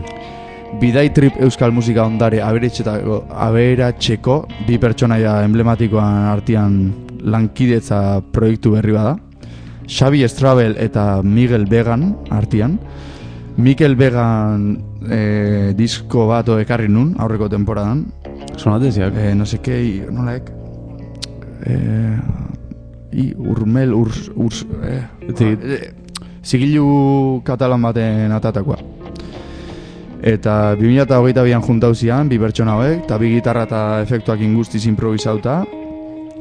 Speaker 2: Bidai trip euskal musika ondare aberetxetako aberatxeko bi pertsonaia emblematikoan artean lankidetza proiektu berri bada. Xabi Estrabel eta Miguel Began artean. Mikel Began eh, disko bat o ekarri nun, aurreko temporadan.
Speaker 3: Sonateziak.
Speaker 2: Eh, no seke, nolaek? Eh, i, urmel, urs... urs eh,
Speaker 3: Zigil-
Speaker 2: eh, zigilu katalan baten atatakoa. Eta 2008an juntau zian, bi pertsona hauek, eta bi gitarra eta efektuak inguztiz improvisauta,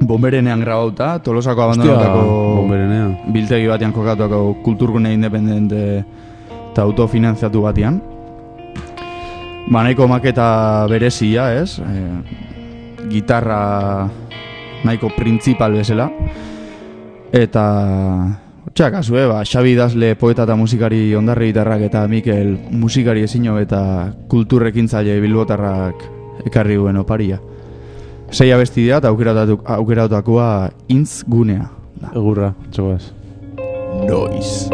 Speaker 2: bomberenean grabauta, tolosako abandonatako
Speaker 3: bomberenea.
Speaker 2: biltegi batean kokatuako kulturgune independente eta autofinanziatu batean. Ba, nahiko maketa berezia, ez? Eh, E, gitarra nahiko printzipal bezala. Eta, txak, azue, ba, Xabi Dazle poeta eta musikari ondarri gitarrak eta Mikel musikari ezino eta kulturrekin zaile bilbotarrak ekarri duen oparia. Sei abesti dira eta aukeratatuk- aukeratakoa intz gunea. da.
Speaker 3: Egurra, txokoaz.
Speaker 2: Noiz.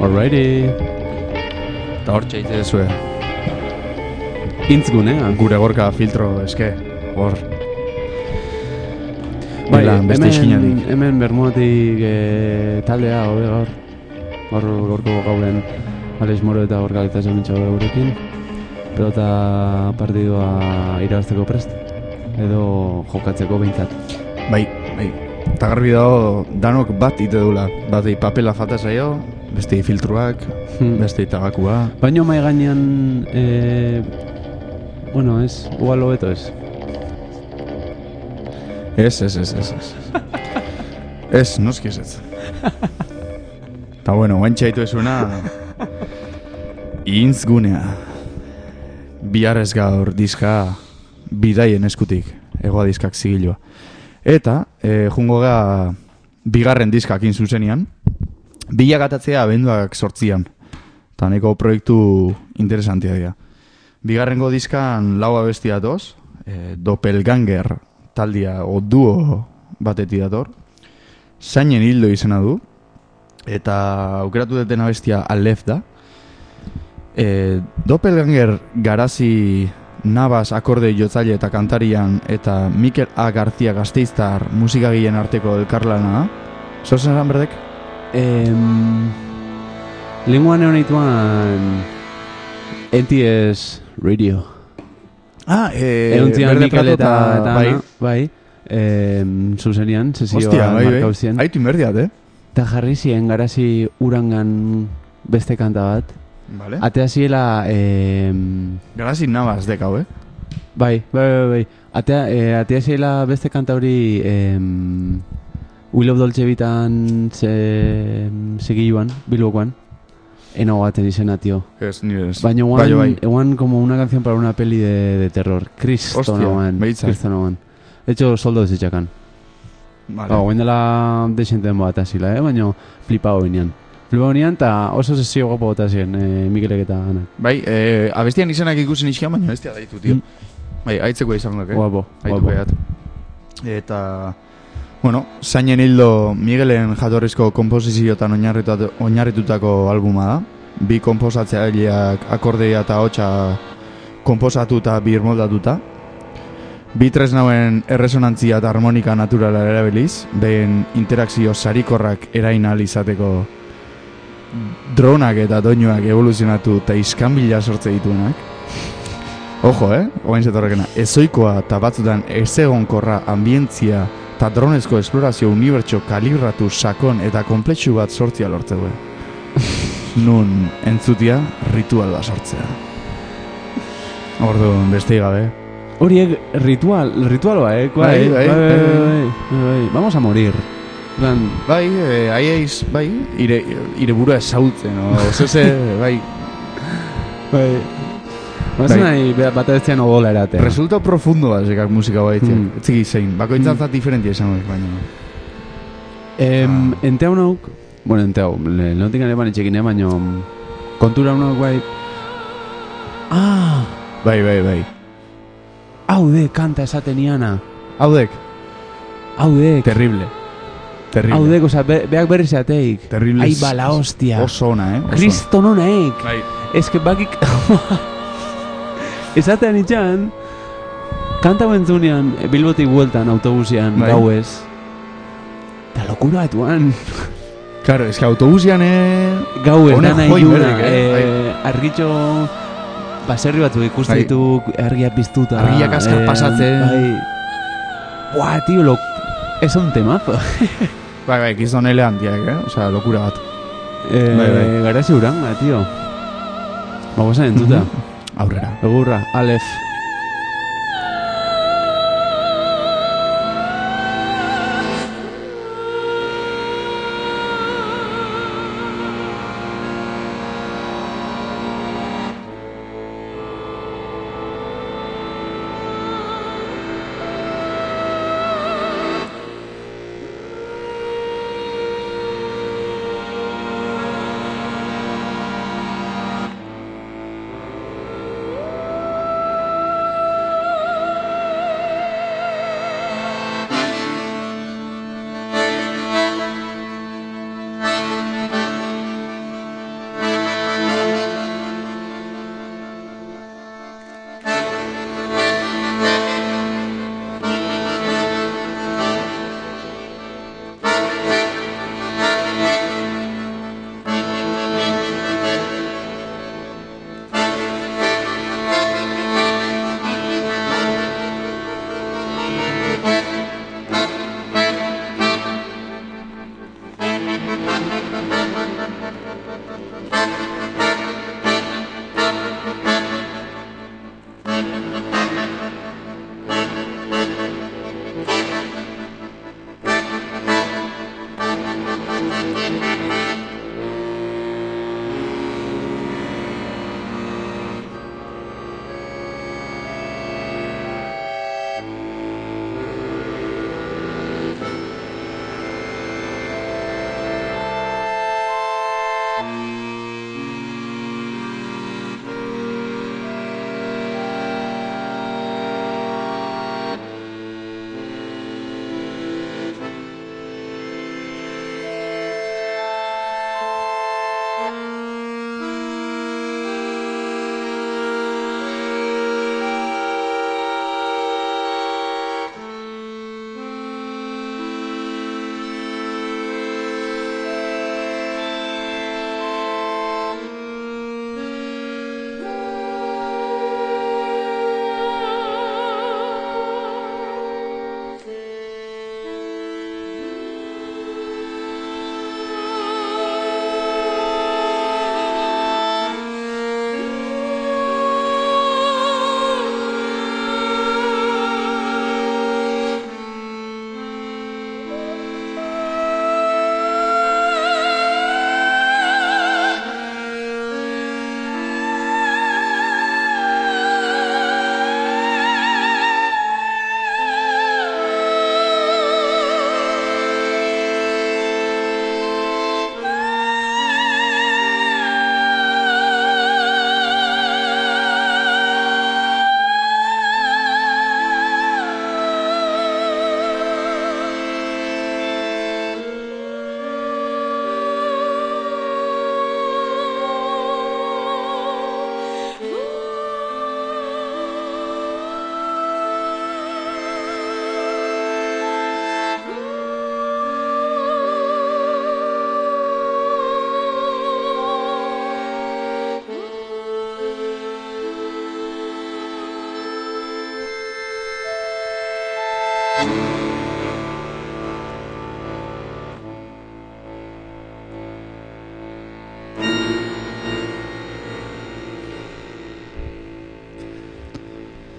Speaker 3: Alrighty.
Speaker 2: Eta hor txaite dezue.
Speaker 3: Intz gunea.
Speaker 2: Gure gorka filtro, eske, hor.
Speaker 3: Bai,
Speaker 2: Dela, beste
Speaker 3: hemen,
Speaker 2: iskinadik.
Speaker 3: hemen bermuatik eh, taldea, hori gaur. Gaur gorko gauren Alex Moro eta gaur galeta zementxa gurekin. Pelota partidua irabazteko prest. Edo jokatzeko behintzat.
Speaker 2: Bai, bai. Eta garbi dago danok bat ite dula. Batei papela falta zaio, beste filtruak,
Speaker 3: Hmm.
Speaker 2: beste tabakua.
Speaker 3: Baino mai gainean... Eh, bueno, ez, igual hobeto ez.
Speaker 2: Ez, ez, ez, ez. ez. Ez, noski ez ez. Ta bueno, guain txaitu esuna... Intzgunea. Bihar ez gaur diska bidaien eskutik. Egoa diskak zigilua. Eta, e, jungo ga bigarren diskakin zuzenian. Bilagatatzea abenduak sortzian. Ta neko proiektu interesantia dira. Bigarrengo diskan laua besti datoz. E, doppelganger taldia o duo batetik dator. Zainen hildo izena du. Eta aukeratu deten abestia Alef da. E, Doppelganger garazi Nabas akorde jotzaile eta kantarian eta Mikel A. García Gasteiztar musikagileen arteko elkarlana da. Zozen eran berdek?
Speaker 3: Em, lenguan egon eituan NTS Radio.
Speaker 2: Ah, e,
Speaker 3: Egon zian Mikel eta, eh, eta
Speaker 2: bai.
Speaker 3: Ana, bai. Em, zuzenian,
Speaker 2: Hostia,
Speaker 3: sesioa
Speaker 2: bai, bai.
Speaker 3: markauzien.
Speaker 2: Aitu inberdiat, eh?
Speaker 3: Eta jarri ziren garazi urangan beste kanta bat.
Speaker 2: Vale.
Speaker 3: Atea ziela... em,
Speaker 2: Garazi Nabas dek hau, eh?
Speaker 3: Bai, bai, bai, bai. Atea, e, atea zela beste kanta hori em, Will of Dolce bitan ze, segiluan, bilbokoan. Eno baten izena, tio.
Speaker 2: Ez, nire ez.
Speaker 3: Baina
Speaker 2: Bai,
Speaker 3: guan,
Speaker 2: bai.
Speaker 3: eguan como una canción para una peli de, de terror. Kristo
Speaker 2: Hostia,
Speaker 3: noan,
Speaker 2: behitza.
Speaker 3: kristo noan. De hecho, soldo desitxakan.
Speaker 2: bai. Vale.
Speaker 3: Ba, guen dela desenten bat azila, eh? Baina flipao binean. Flipao binean, eta oso sesio guapo bat azien, eh, Mikelek eta Ana.
Speaker 2: Bai, e, abestian izenak ikusi nixkian, baina bestia daitu, tio. Bai, aitzeko izango dake.
Speaker 3: Guapo,
Speaker 2: Aitu
Speaker 3: guapo.
Speaker 2: behat. Eta, bueno, zainen hildo Miguelen jatorrizko kompoziziotan oinarritu- oinarritutako albuma da. Bi komposatzaileak akordeia eta hotxa komposatuta birmoldatuta. Bi tresnauen erresonantzia eta harmonika naturala erabiliz, behin interakzio sarikorrak erain ahal izateko dronak eta doinuak evoluzionatu eta iskanbila sortze dituenak. Ojo, eh? Oain zetorrekena. Ezoikoa eta batzutan ezegonkorra ambientzia eta dronezko esplorazio unibertso kalibratu sakon eta komplexu bat sortzia lortze du. Nun entzutia ritual bat sortzea. Orduan, beste gabe.
Speaker 3: Horiek eh, ritual, ritualoa, eh?
Speaker 2: Bai, bai, bai, bai.
Speaker 3: bai, bai. Vamos a morir. Plan,
Speaker 2: Bai, eh, aieiz, bai, ire, ire burua esautzen, o, zeze, bai,
Speaker 3: bai. eh, Bazen
Speaker 2: Bai.
Speaker 3: nahi be- bat bestean odola eratea.
Speaker 2: Resulta profundo bat sekak musika baitzen.
Speaker 3: Hmm.
Speaker 2: Mm. Etziki zein, bakoitzan zat diferentia esan baina.
Speaker 3: Em,
Speaker 2: Ah.
Speaker 3: ente hau nauk, bueno, ente hau, le- lehentik ere ban itxekin, eh? Baina kontura hau nauk bai... Ah,
Speaker 2: Bai, bai, bai.
Speaker 3: hau de kanta esaten iana.
Speaker 2: Haudek,
Speaker 3: Hau de,
Speaker 2: terrible. Terrible.
Speaker 3: hau de, oza, be, beak berriz ateik.
Speaker 2: Terrible.
Speaker 3: Ai, bala, hostia.
Speaker 2: Oso ona, eh? Oso ona.
Speaker 3: Kristo nonaek.
Speaker 2: Bai.
Speaker 3: Ez que bakik... Ezatean itxan, kanta bentzunean, Bilbotik bueltan autobusean,
Speaker 2: Bai.
Speaker 3: gauez. Ta lokura atuan.
Speaker 2: Claro, es que autobusian, eh...
Speaker 3: Gauez,
Speaker 2: Honek
Speaker 3: dana
Speaker 2: joi
Speaker 3: iluna,
Speaker 2: berrik, eh?
Speaker 3: eh, argitxo... Baserri batzu ikusten
Speaker 2: Bai.
Speaker 3: ditu argia piztuta.
Speaker 2: Argiak azkar pasatzen.
Speaker 3: Bai. Buah, tío, lo... Es un temazo.
Speaker 2: Bai, bai, gizon eleantiak, eh? Osea, lokura bat.
Speaker 3: Eh, ba,
Speaker 2: Bai, bai.
Speaker 3: Garazi uranga, tío. Bagoza entzuta.
Speaker 2: Mhm. Mm-hmm. Aurrera.
Speaker 3: Ba, Egurra, Alef.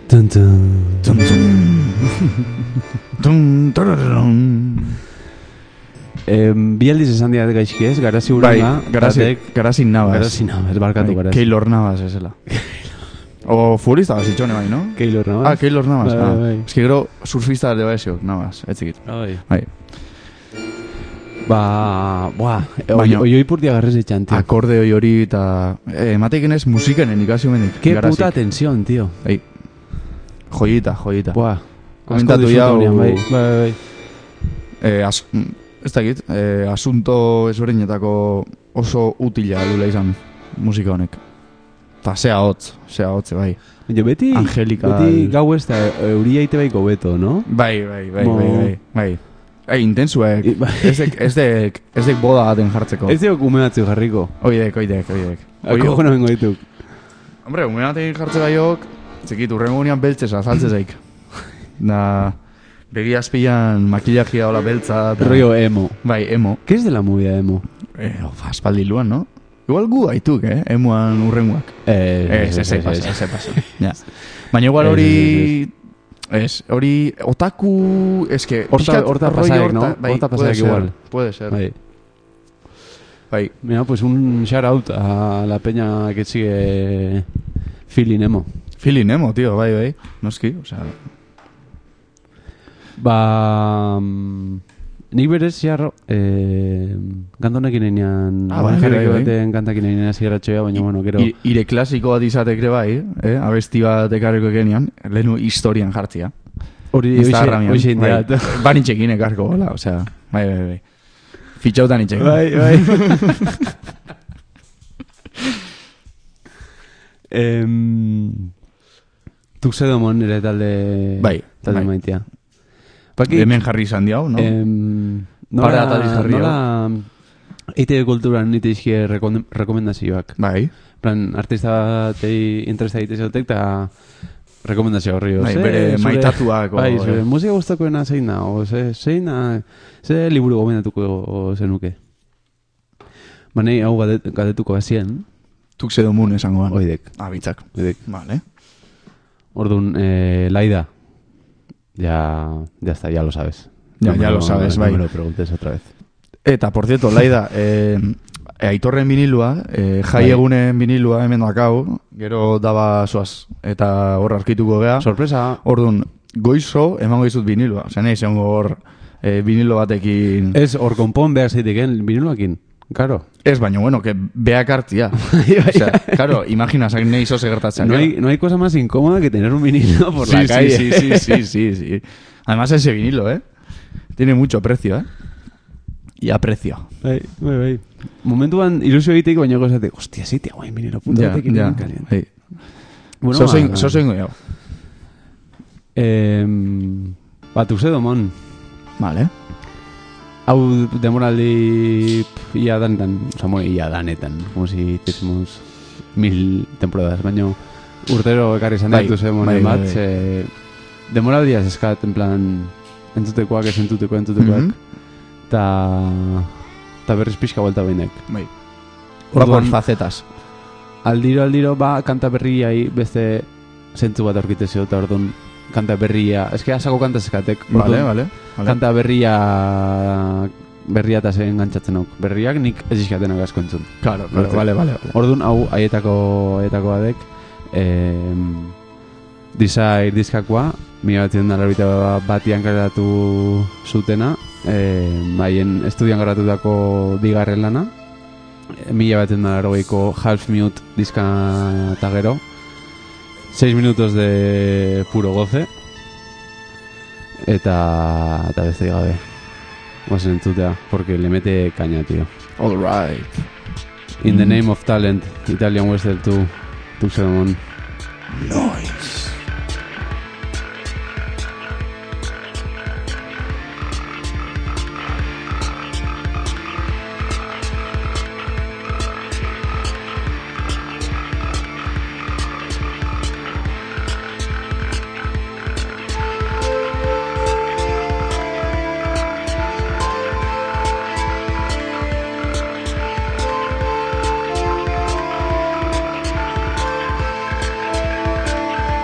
Speaker 3: Tun, tun.
Speaker 2: Tum, tum. Tum, tararum.
Speaker 3: Em, bi aldiz esan diat gaizki ez, garazi
Speaker 2: Bai,
Speaker 3: urruna,
Speaker 2: garazi,
Speaker 3: batek-
Speaker 2: garazi nabaz.
Speaker 3: Garazi nabaz, barkatu,
Speaker 2: Bai,
Speaker 3: garazi.
Speaker 2: Keylor nabaz, ezela. o futbolista basitxone bai, no?
Speaker 3: Keylor, no?
Speaker 2: Ah, Keylor nabaz.
Speaker 3: Bai,
Speaker 2: ah.
Speaker 3: bai.
Speaker 2: Ez que gero surfista de baixo, nabaz, etzikit. Bai.
Speaker 3: Ba, buah,
Speaker 2: Baina- Ah,
Speaker 3: Baina... oio ipurtia garrez etxan, tío.
Speaker 2: Akorde hoi hori eta... Eh, emateik enez musikanen ikasi mendik.
Speaker 3: Ke puta tensión, tío.
Speaker 2: Bai. Joyita, joyita.
Speaker 3: Buah,
Speaker 2: Komentatu
Speaker 3: asko
Speaker 2: jau-
Speaker 3: disfruta unean, bai. Bai, bai.
Speaker 2: Eh, as, mm, ez dakit, eh, asunto ezberdinetako oso utila dula izan musika honek. Ta zea hotz, zea hotz, bai.
Speaker 3: Baina beti,
Speaker 2: Angelical.
Speaker 3: beti gau ez da euria ite baiko beto, no?
Speaker 2: Bai, bai, bai,
Speaker 3: Mo.
Speaker 2: bai, bai, bai. Ei, intensuek.
Speaker 3: I- bai.
Speaker 2: Ez dek, ez dek, ez dek boda baten jartzeko.
Speaker 3: Ez dugu ume batzu jarriko.
Speaker 2: Oidek, oidek, oidek.
Speaker 3: Ako
Speaker 2: Oio,
Speaker 3: gona bengo dituk.
Speaker 2: hombre, ume baten jartze gaiok, txekit, urrengo unian beltzez azaltze zaik. Da, begi azpian makillajia hola beltza. eta-
Speaker 3: Rollo emo.
Speaker 2: Bai, emo.
Speaker 3: ¿Qué es de la movida emo?
Speaker 2: Eh, ofa, aspaldi luan, no? Igual gu gaituk, eh? Emoan urrengoak.
Speaker 3: Eh,
Speaker 2: Ez, ez, ez, ez, ez, ez, Ja. Baina
Speaker 3: Ez,
Speaker 2: igual
Speaker 3: ez,
Speaker 2: hori... Ez, hori otaku... Ez que...
Speaker 3: Horta-
Speaker 2: pixkat
Speaker 3: horta
Speaker 2: rollo
Speaker 3: pasaek, no?
Speaker 2: bai,
Speaker 3: Horta
Speaker 2: puede
Speaker 3: pasaek
Speaker 2: ser,
Speaker 3: igual.
Speaker 2: Puede ser.
Speaker 3: Ahí.
Speaker 2: Bai,
Speaker 3: Mira, pues un shout out a la peña que sigue Feeling Emo.
Speaker 2: Feeling emo, tío, bai, bai. Noski, osea...
Speaker 3: Ba... mm, Nik berez, jarro, eh, kantonekin enean,
Speaker 2: Ah, bai,
Speaker 3: jarriko
Speaker 2: bai, bai.
Speaker 3: baten kantakin enean zigarratxoia, baina, bueno, gero...
Speaker 2: I, ire klasiko bat izatek ere bai, eh? Abesti bat ekarriko genian, lehenu historian jartzia.
Speaker 3: Hori,
Speaker 2: Instagramian.
Speaker 3: hoxe
Speaker 2: bai.
Speaker 3: indiat.
Speaker 2: Ban itxekin ekarko gola, osea... Bai, bai, bai. Fitxautan itxekin.
Speaker 3: Bai, bai. em, Tuxedomon ere talde...
Speaker 2: Bai,
Speaker 3: Talde
Speaker 2: bai.
Speaker 3: maitea. Paki,
Speaker 2: Hemen jarri izan diau, no?
Speaker 3: em, nola,
Speaker 2: Para atariz jarri hau.
Speaker 3: nola, EITB kulturan nite izkie rekomend- rekomendazioak.
Speaker 2: Bai.
Speaker 3: Plan, artista batei interesa egite zautek, eta rekomendazio horri.
Speaker 2: Bai,
Speaker 3: ze
Speaker 2: bere
Speaker 3: zure-
Speaker 2: maitatuak, o- eh.
Speaker 3: Bai, zure musika gustakoena zein da, o ze, zein da, ze liburu gomendatuko zenuke. Banei, hau gadet- galdetuko hasien,
Speaker 2: Tuk zedo mun esangoan.
Speaker 3: oidek,
Speaker 2: Abitzak.
Speaker 3: oidek.
Speaker 2: Vale.
Speaker 3: Orduan, eh, Laida, ya, ya está, ya lo sabes.
Speaker 2: Ya-
Speaker 3: me
Speaker 2: ya lo sabes,
Speaker 3: no
Speaker 2: bai.
Speaker 3: me lo preguntes otra vez.
Speaker 2: Eta, por cierto, Laida, eh, aitorren vinilua, eh, jai
Speaker 3: Bai.
Speaker 2: egunen vinilua hemen dakau, gero daba soaz, eta hor arkituko gea.
Speaker 3: Sorpresa,
Speaker 2: Ordun goizo, emango izut vinilua. Osa, nahi zen hor eh, vinilo batekin...
Speaker 3: ez hor konpon behar zeiteken, binuloakin, karo.
Speaker 2: Ez, baina, bueno, que beak hartia.
Speaker 3: Bai,
Speaker 2: Osea, claro, imagina, sak nahi zoz gertatzen.
Speaker 3: No
Speaker 2: gero.
Speaker 3: hay, no hay cosa más incómoda que tener un vinilo por la
Speaker 2: sí,
Speaker 3: calle.
Speaker 2: sí, sí, sí, sí, sí, sí. Además ese vinilo, ¿eh? Tiene mucho precio, ¿eh? y aprecio.
Speaker 3: Bai, bai, bai. Momentuan ilusio egiteik baina gozatik, hostia, zitea guain minero puta
Speaker 2: Ja,
Speaker 3: batekin
Speaker 2: ja.
Speaker 3: hemen kalian.
Speaker 2: Bai.
Speaker 3: Bueno, ba,
Speaker 2: Zozein,
Speaker 3: ba.
Speaker 2: zozein gehiago.
Speaker 3: Em, bat uste domon.
Speaker 2: Vale.
Speaker 3: Hau demoraldi pf, ia danetan, oza, bueno, ia danetan, como si tesemos mil temporadas, baino urtero ekarri izan
Speaker 2: Bai,
Speaker 3: ditu zen
Speaker 2: bai,
Speaker 3: monen
Speaker 2: bai,
Speaker 3: bat,
Speaker 2: bai.
Speaker 3: ze demoraldia eskat, en plan, entzutekoak, ez entzutekoak, entzutekoak,
Speaker 2: Mhm.
Speaker 3: ta, ta berriz pixka buelta behinek.
Speaker 2: Bai.
Speaker 3: Orduan-
Speaker 2: Orduan facetas.
Speaker 3: Aldiro, aldiro, ba, kanta berriai beste zentzu bat aurkitezio, eta orduan, kanta berria, eske asako kanta eskatek,
Speaker 2: Vale, vale. vale.
Speaker 3: Kanta berria berria eta zen gantzatzen auk. Berriak nik ez iskatenak asko entzun.
Speaker 2: Claro, claro, vale, vale. vale.
Speaker 3: Orduan hau haietako haietako adek em, Desire diskakoa mila batzen batian garatu zutena em, haien estudian garatutako bigarren lana mila batzen half mute diska eta gero 6 minutos de puro goce eta eta beste gabe Guazen entzutea, Pues porque le mete caña, tío.
Speaker 2: All right.
Speaker 3: In the name of talent, Italian Western 2, Tuxedamon.
Speaker 4: Noise.
Speaker 1: Noise.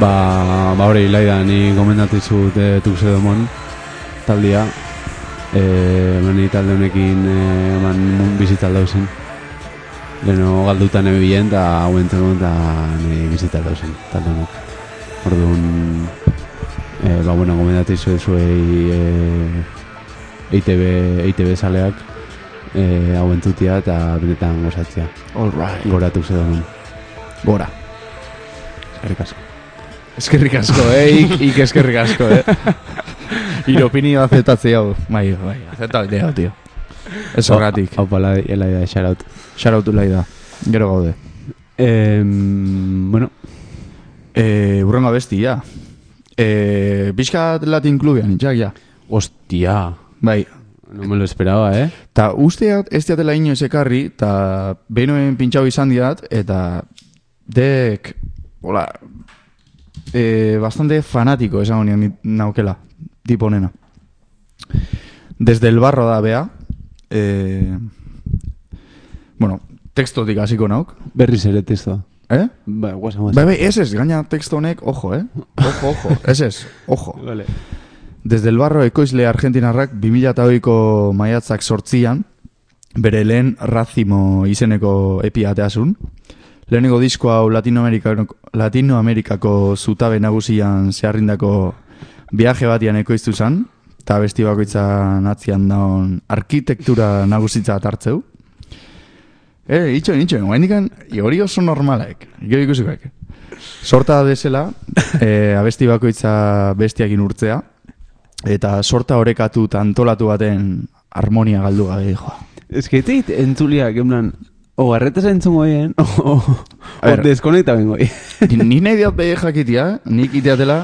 Speaker 3: Ba, ba hori, Laida, ni gomendatu izut e, Tuxedomon taldea. E, mani talde honekin e, man, mun bizitalda zen. Leno galdutan ebilen, eta hauen zenuen, eta nire bizitalda zen, talde honek. Orduan, e, ba, bueno, gomendatu izut zuei e, EITB, EITB zaleak, e, hauen tutia eta benetan gozatzea.
Speaker 2: All right.
Speaker 3: Gora Tuxedomon. Gora. Eskerrik asko.
Speaker 2: Eskerrik asko, eh? Ik, ik eskerrik asko, eh? Iropinio azetatzi hau. Bai, bai, azetatzi hau, tio. Ez horretik.
Speaker 3: Hau pala, elaida, xaraut.
Speaker 2: Xarautu lai da. Gero gaude.
Speaker 3: Eh, bueno,
Speaker 2: E, urrengo abesti, ja. E, Bizkat Latin Clubean, itxak, ja.
Speaker 3: hostia,
Speaker 2: Bai.
Speaker 3: no me lo esperaba, eh?
Speaker 2: Ta usteat, ez diatela inoiz ekarri, ta benoen pintxau izan diat, eta dek, hola, e, bastante fanatiko esan honi naukela, tipo nena. Desde el barro da bea, e, bueno, tekstotik hasiko nauk,
Speaker 3: Berriz ere testoa.
Speaker 2: eh?
Speaker 3: Ba, guasa, guasa.
Speaker 2: Bai, bai, ez ez, gaina teksto honek, ojo, eh? Ojo, ojo, ez ez, ojo.
Speaker 3: Vale.
Speaker 2: Desde el barro ekoizle argentinarrak 2008ko maiatzak sortzian, bere lehen razimo izeneko epi ateasun. Lehenengo disko hau Latinoamerikako, Latinoamerikako zutabe nagusian zeharrindako viaje batian ekoiztu zan, eta besti bakoitzan atzian daun arkitektura nagusitza atartzeu. E, itxoen, itxoen, guain dikan, hori oso normalek, gero ikusikoek. Sorta desela, e, abesti bakoitza bestiakin urtzea, eta sorta horekatu eta antolatu baten harmonia galdu gabe joa.
Speaker 3: Es que teit entzuliak, en plan, o garretas entzungo bien, o, eh, o,
Speaker 2: A
Speaker 3: o
Speaker 2: ver.
Speaker 3: deskonekta bengo bien.
Speaker 2: Ni nahi diat behe jakitia, nik iteatela,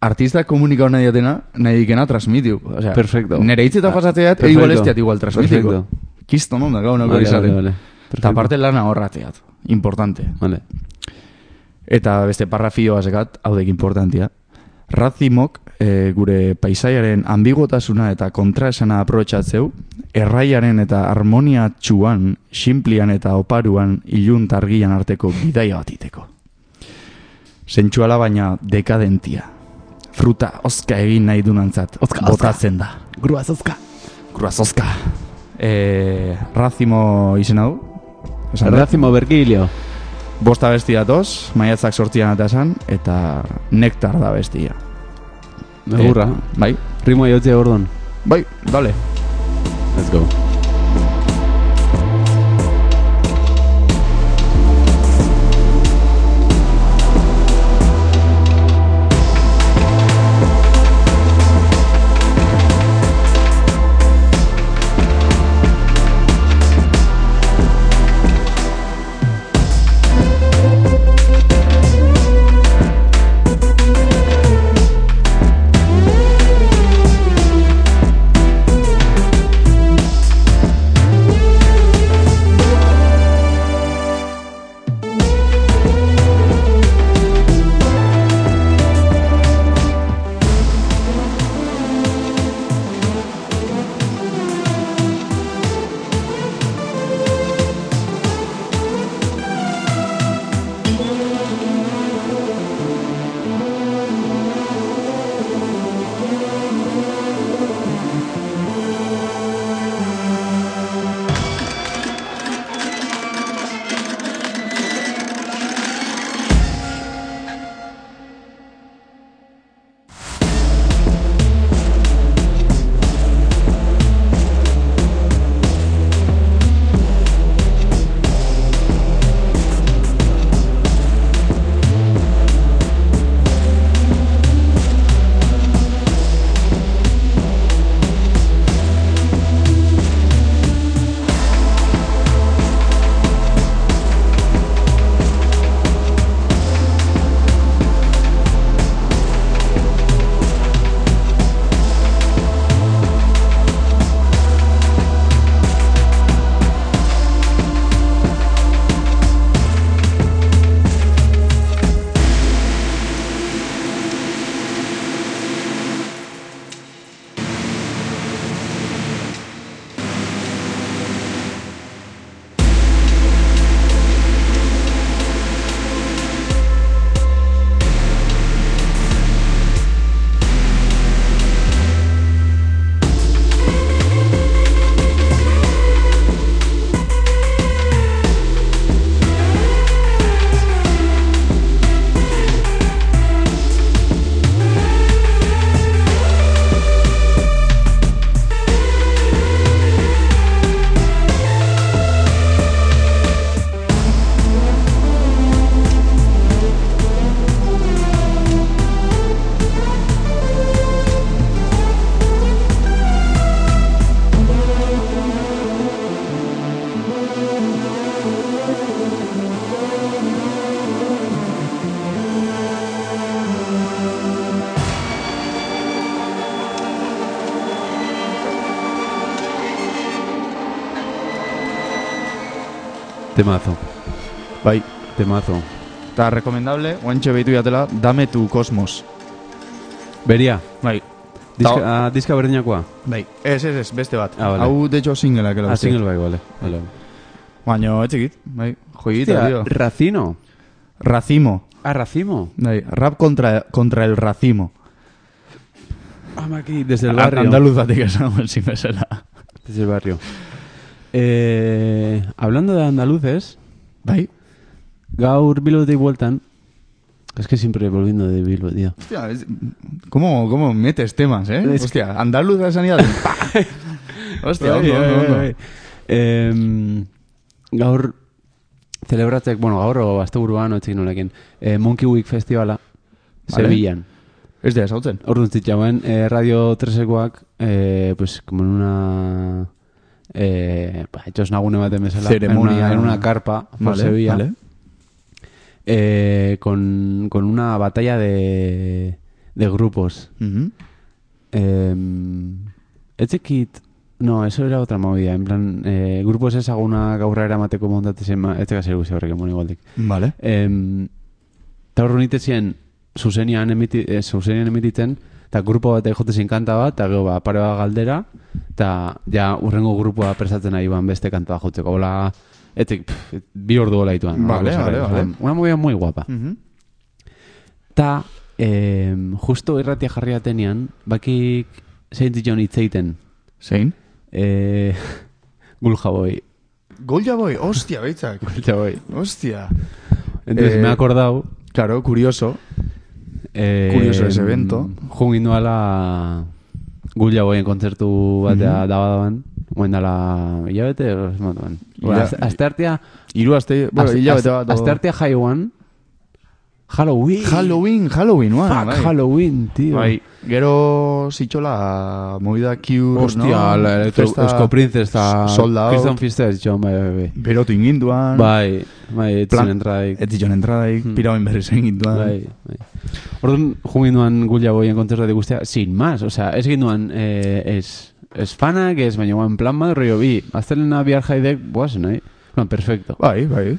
Speaker 2: artista komunikau nahi diatena, nahi dikena transmitiu. O sea,
Speaker 3: Perfecto.
Speaker 2: Nere hitzetan
Speaker 3: Ah,
Speaker 2: pasateat, e
Speaker 3: perfecto.
Speaker 2: igual ez diat igual transmitiko.
Speaker 3: Perfecto.
Speaker 2: Kisto non da gau nako izaten. Eta
Speaker 3: Perfecto.
Speaker 2: parte lana horrateat, importante.
Speaker 3: Vale.
Speaker 2: Eta beste parrafioa sekat, hau dek importantia. Razimok e, gure paisaiaren ambigotasuna eta kontraesana aprotxatzeu, erraiaren eta harmonia txuan, simplian eta oparuan, ilun targian arteko bidaia bat iteko. Sentsuala baina dekadentia. Fruta ozka egin nahi dunantzat,
Speaker 3: Ozka, ozka.
Speaker 2: botatzen da.
Speaker 3: Grua zozka.
Speaker 2: Kruazozka. E, razimo izen hau? Esan da?
Speaker 3: Razimo Bergilio.
Speaker 2: Bosta besti datoz, maiatzak sortzian eta esan, eta nektar da bestia.
Speaker 3: Egurra.
Speaker 2: Eh, bai,
Speaker 3: Rimo jotzea ordon.
Speaker 2: bai, dale.
Speaker 3: Let's go. Temazo,
Speaker 2: Bai,
Speaker 3: temazo.
Speaker 2: eta rekomendable, oantxe behitu jatela, dame tu kosmos.
Speaker 3: Beria,
Speaker 2: Bai,
Speaker 3: diska,
Speaker 2: Ta-
Speaker 3: ah, diska berdinakoa.
Speaker 2: bai. Ez, ez, ez, beste bat.
Speaker 3: Ah, vale.
Speaker 2: Hau, de hecho, singleak
Speaker 3: Ah,
Speaker 2: elabazte.
Speaker 3: single bai, vale. vale.
Speaker 2: Baina, etzikit, bai. Joyita,
Speaker 3: Hostia,
Speaker 2: tío.
Speaker 3: Racino.
Speaker 2: Racimo.
Speaker 3: Ah, Racimo.
Speaker 2: Bai, rap contra, contra el racimo.
Speaker 3: Ah, maki, desde el
Speaker 2: A-
Speaker 3: barrio.
Speaker 2: Andaluzatik esan ezin bezala.
Speaker 3: Desde el barrio. Eh, hablando de andaluces,
Speaker 2: Bai.
Speaker 3: gaur Bilbotik bueltan, es que siempre volviendo de Bilbo, tío.
Speaker 2: Hostia, es- ¿cómo, cómo metes temas, eh?
Speaker 3: Es que-
Speaker 2: Hostia, andaluza sanidad. Hostia,
Speaker 3: Bai,
Speaker 2: ondo,
Speaker 3: bai,
Speaker 2: ondo, ondo.
Speaker 3: bai. Em, gaur celebratzek, bueno, gaur o azte buruan, otzik nolekin, eh, Monkey Week Festivala,
Speaker 2: Vale.
Speaker 3: Sevillan.
Speaker 2: Ez da, esautzen.
Speaker 3: Orduan zitzauen, eh, Radio 3ekoak, eh, pues, como en una... Eh, ba, etxos nagune baten bezala.
Speaker 2: Ceremonia.
Speaker 3: En una, en una carpa, por Sevilla. Eh, con, con una batalla de, de grupos.
Speaker 2: Mhm.
Speaker 3: Eh, etzekit... este No, eso era otra movida. En plan, eh, grupos ezaguna gaurra eramateko montatezen... Este gazeru horrek emon igualdik.
Speaker 2: Vale.
Speaker 3: Em, Eta horro nite ziren zuzenian, emiti, eh, zuzenian emititzen, eta grupo bat egote zin kanta bat, eta gero ba, pare bat galdera, eta ja urrengo grupoa prestatzen ari ban beste kanta bat jotzeko. Hola, etik, pff, bi ordu hola ituan.
Speaker 2: Vale,
Speaker 3: Horrelako
Speaker 2: vale,
Speaker 3: zerbait.
Speaker 2: vale.
Speaker 3: Una movida muy guapa.
Speaker 2: Mhm.
Speaker 3: Eta, eh, justo irratia jarri atenean, bakik zein dion itzeiten.
Speaker 2: Zein?
Speaker 3: Eh, Gulja boi.
Speaker 2: Golja boy, hostia, beitzak.
Speaker 3: Gulja boi.
Speaker 2: Hostia.
Speaker 3: Entonces
Speaker 2: Eh,
Speaker 3: me he acordado
Speaker 2: Claro, curioso.
Speaker 3: Eh, mm,
Speaker 2: Curioso ese evento.
Speaker 3: Jungin nuala gulla boien kontzertu batea
Speaker 2: Mhm.
Speaker 3: dabadaban. Oen dala hilabete, edo zenbat duan. Bueno, Ba,
Speaker 2: Hila-
Speaker 3: az- Azte artea...
Speaker 2: Hiru aste, bueno,
Speaker 3: azte-
Speaker 2: hilabete bat.
Speaker 3: azte-
Speaker 2: o-
Speaker 3: Azte artea jaioan... Halloween!
Speaker 2: Halloween, Halloween, uan,
Speaker 3: Fuck,
Speaker 2: bai.
Speaker 3: Halloween, tío.
Speaker 2: Bai, gero zitxola movida Q,
Speaker 3: Hostia,
Speaker 2: no?
Speaker 3: la, la,
Speaker 2: Festa-
Speaker 3: Eusko Princes eta...
Speaker 2: Sold out.
Speaker 3: Kriston Fista ez joan, bai, bai, bai.
Speaker 2: Berotu inginduan.
Speaker 3: Bai, bai,
Speaker 2: Plan-
Speaker 3: etzen entraik.
Speaker 2: Ez zion entradaik,
Speaker 3: Hmm.
Speaker 2: pirauen berriz eginduan.
Speaker 3: Bai, bai. Orduan, jungin duan gulla boien kontzertatik guztia, sin más, osea, ez egin duan, eh, ez, ez fanak, ez, baina guan plan bat, rollo bi, aztelena bihar jaidek, boazen, nahi? eh? Plan, perfecto.
Speaker 2: Bai, bai.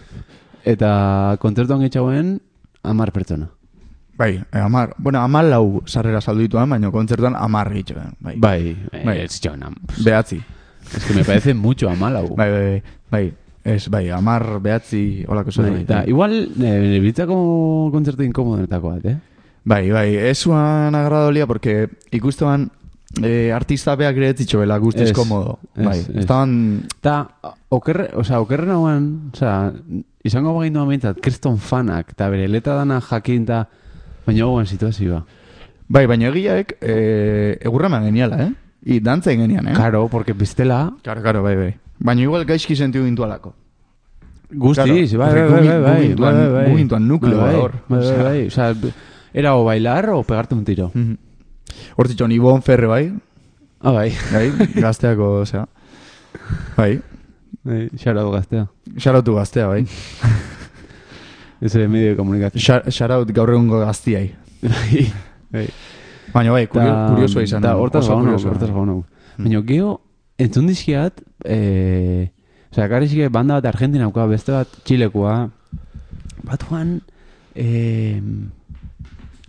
Speaker 3: Eta kontzertuan getxauen, amar pertsona.
Speaker 2: Bai, eh, amar, bueno, amar lau sarrera saldu dituan, baina kontzertuan amar gitxo. Bai.
Speaker 3: Bai,
Speaker 2: Bai.
Speaker 3: bai. ez joan, am-
Speaker 2: Behatzi.
Speaker 3: es que me parece mucho amalau.
Speaker 2: Bai, bai, bai. Ez, bai, amar, behatzi, holako
Speaker 3: Bai,
Speaker 2: zerbait.
Speaker 3: Eta, igual, eh, bitzako kontzertu inkomodenetako bat, eh?
Speaker 2: Bai, bai, ez uan agradolia, porque ikustuan eh, artista beak ere zitxoela guztiz
Speaker 3: Ez,
Speaker 2: komodo.
Speaker 3: ez,
Speaker 2: Bai,
Speaker 3: ez.
Speaker 2: estaban...
Speaker 3: Eta, okerre, osea, okerren hauan, osea, izango bain duan bintzat, kriston fanak, eta bere letra dana jakin, eta, baina guan situazioa.
Speaker 2: Bai, baina egileak eh, egurra eman geniala, eh? I, dantza egin genian, eh?
Speaker 3: Karo, porque piztela,
Speaker 2: Karo, karo, bai, bai. Baina igual gaizki sentiu gintualako.
Speaker 3: guztiz,
Speaker 2: Claro,
Speaker 3: bai, bai,
Speaker 2: porque
Speaker 3: bai,
Speaker 2: gugin-
Speaker 3: bai, bai,
Speaker 2: gugintuan-
Speaker 3: bai, bai.
Speaker 2: gugintuan nukleo
Speaker 3: Bai,
Speaker 2: hor,
Speaker 3: Bai, bai,
Speaker 2: osea.
Speaker 3: bai, osea, era o bailar o pegarte un tiro.
Speaker 2: Mm Hortzitxon, Ibon Ferre, bai?
Speaker 3: Ah, bai,
Speaker 2: Bai, gazteako, osea. Bai,
Speaker 3: bai, xarau gaztea.
Speaker 2: xarautu gaztea, bai.
Speaker 3: Ese medio de comunicación.
Speaker 2: Xa- Xaraut gaur egungo gaztiai.
Speaker 3: Bai, bai.
Speaker 2: Baina bai, kurio,
Speaker 3: Ta-
Speaker 2: kuriosoa izan.
Speaker 3: ta
Speaker 2: da,
Speaker 3: hortaz
Speaker 2: oso Hmm.
Speaker 3: gaunau,
Speaker 2: kuriosoa.
Speaker 3: hortaz gaunau. Baina geho, entzun dizkiat, eh, osea, garri zike banda bat Argentinauka, beste bat Txilekoa, batuan, eh,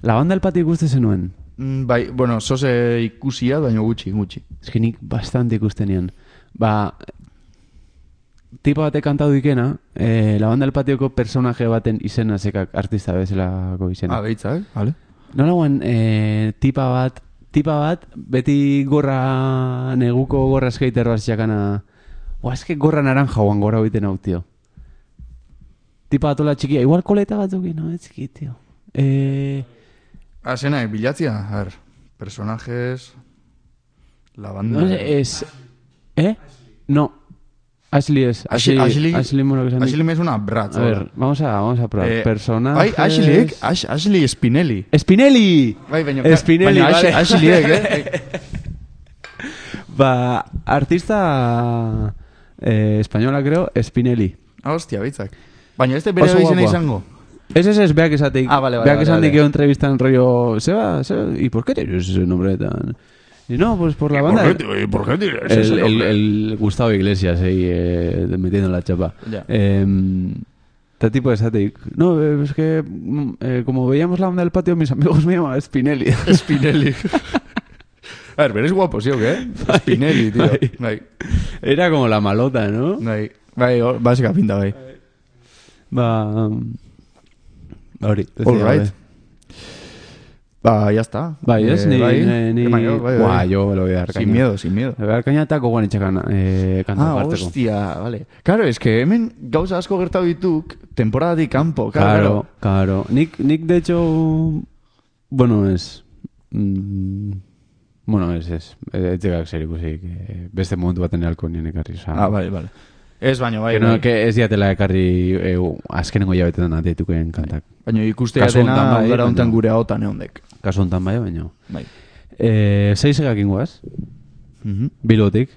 Speaker 3: la banda el pati ikuste zenuen.
Speaker 2: Mm, Bai, bueno, sose ikusia, baina gutxi, gutxi.
Speaker 3: Ez que nik bastante ikusten nian. Ba, tipa batek kantatu ikena, eh, la banda el patioko personaje baten izena zekak artista bezalako izena.
Speaker 2: Ah, behitzak, vale.
Speaker 3: Nola guan, e, tipa bat, tipa bat, beti gorra, neguko gorra skater bat jakana, oa, eske gorra naranja guan gorra biten hau, tio. Tipa bat ola txikia, igual koleta batzuk, no, ez txiki, tio. E,
Speaker 2: Ah, zenak, bilatzia? A ver, personajes... La banda...
Speaker 3: no sé, es, eh? No, Ashley es, Ashley, Ashley, Ashley, Moro que se llama.
Speaker 2: Ashley me es una brat.
Speaker 3: A ver, vamos a, vamos a probar,
Speaker 2: Eh,
Speaker 3: personajes.
Speaker 2: Bai, Ashley, Ash, Ashley Spinelli.
Speaker 3: Spinelli!
Speaker 2: Bai, baina...
Speaker 3: Spinelli,
Speaker 2: baina
Speaker 3: vale.
Speaker 2: Ash- Ashley, eh?
Speaker 3: Ba, artista eh, española, creo, Spinelli.
Speaker 2: Ah, hostia, behitzak. Baina ez bere
Speaker 3: Oso
Speaker 2: izena
Speaker 3: guapoa.
Speaker 2: izango.
Speaker 3: Ese es, es Bea que Sate.
Speaker 2: Ah, vale, vale,
Speaker 3: Bea
Speaker 2: vale,
Speaker 3: que Sate
Speaker 2: vale.
Speaker 3: que entrevista en rollo. Seba, Seba, ¿y por qué tienes ese nombre tan.? Y no, pues por la banda.
Speaker 4: ¿Por qué dices eso,
Speaker 3: el, el,
Speaker 4: hombre?
Speaker 3: el Gustavo Iglesias ahí eh, metiendo la chapa.
Speaker 2: Ya.
Speaker 3: Eh, Este tipo de sateik. No, eh, es que mm, eh, como veíamos la onda del patio, mis amigos me llamaban Spinelli.
Speaker 2: Spinelli. A ver, pero es guapo, ¿sí o qué? Spinelli, tío.
Speaker 3: bai.
Speaker 2: Bai,
Speaker 3: Era como la malota, ¿no?
Speaker 2: bai. Bai, hor, basika pinta, bai.
Speaker 3: Ba... um, Hori. ez
Speaker 2: All
Speaker 3: dira,
Speaker 2: right. Ba, ya está.
Speaker 3: Bai, ez?
Speaker 2: Eh,
Speaker 3: Ni,
Speaker 2: bai.
Speaker 3: ni, ni...
Speaker 2: Bai, bai,
Speaker 3: Buah,
Speaker 2: bai.
Speaker 3: yo lo voy a dar
Speaker 2: Sin miedo, sin miedo.
Speaker 3: Arkaina eta gogoan itxakan eh, kanta
Speaker 2: Ah,
Speaker 3: parteko.
Speaker 2: hostia, vale. Claro, es que hemen gauza asko gertatu dituk temporadatik kanpo,
Speaker 3: Claro,
Speaker 2: claro.
Speaker 3: claro. Nik, nik de hecho... Bueno, ez... Mm, bueno, ez, ez. Ez dekak zer ikusi. Beste momentu baten alko nien ekarri. Osa,
Speaker 2: Ah, vale, vale. Ez baino, bai.
Speaker 3: que, no,
Speaker 2: bai.
Speaker 3: que ez diatela ekarri eh, azkenengo jabetetan ateituken kantak.
Speaker 2: Baina ikustea
Speaker 3: Kasu hontan
Speaker 2: dena
Speaker 3: bai,
Speaker 2: udara hontan
Speaker 3: baina-
Speaker 2: gure ahotan eondek.
Speaker 3: Kasu honetan bai, baino.
Speaker 2: Bai.
Speaker 3: Eh, zeizegak ingoaz,
Speaker 2: Mhm.
Speaker 3: bilotik.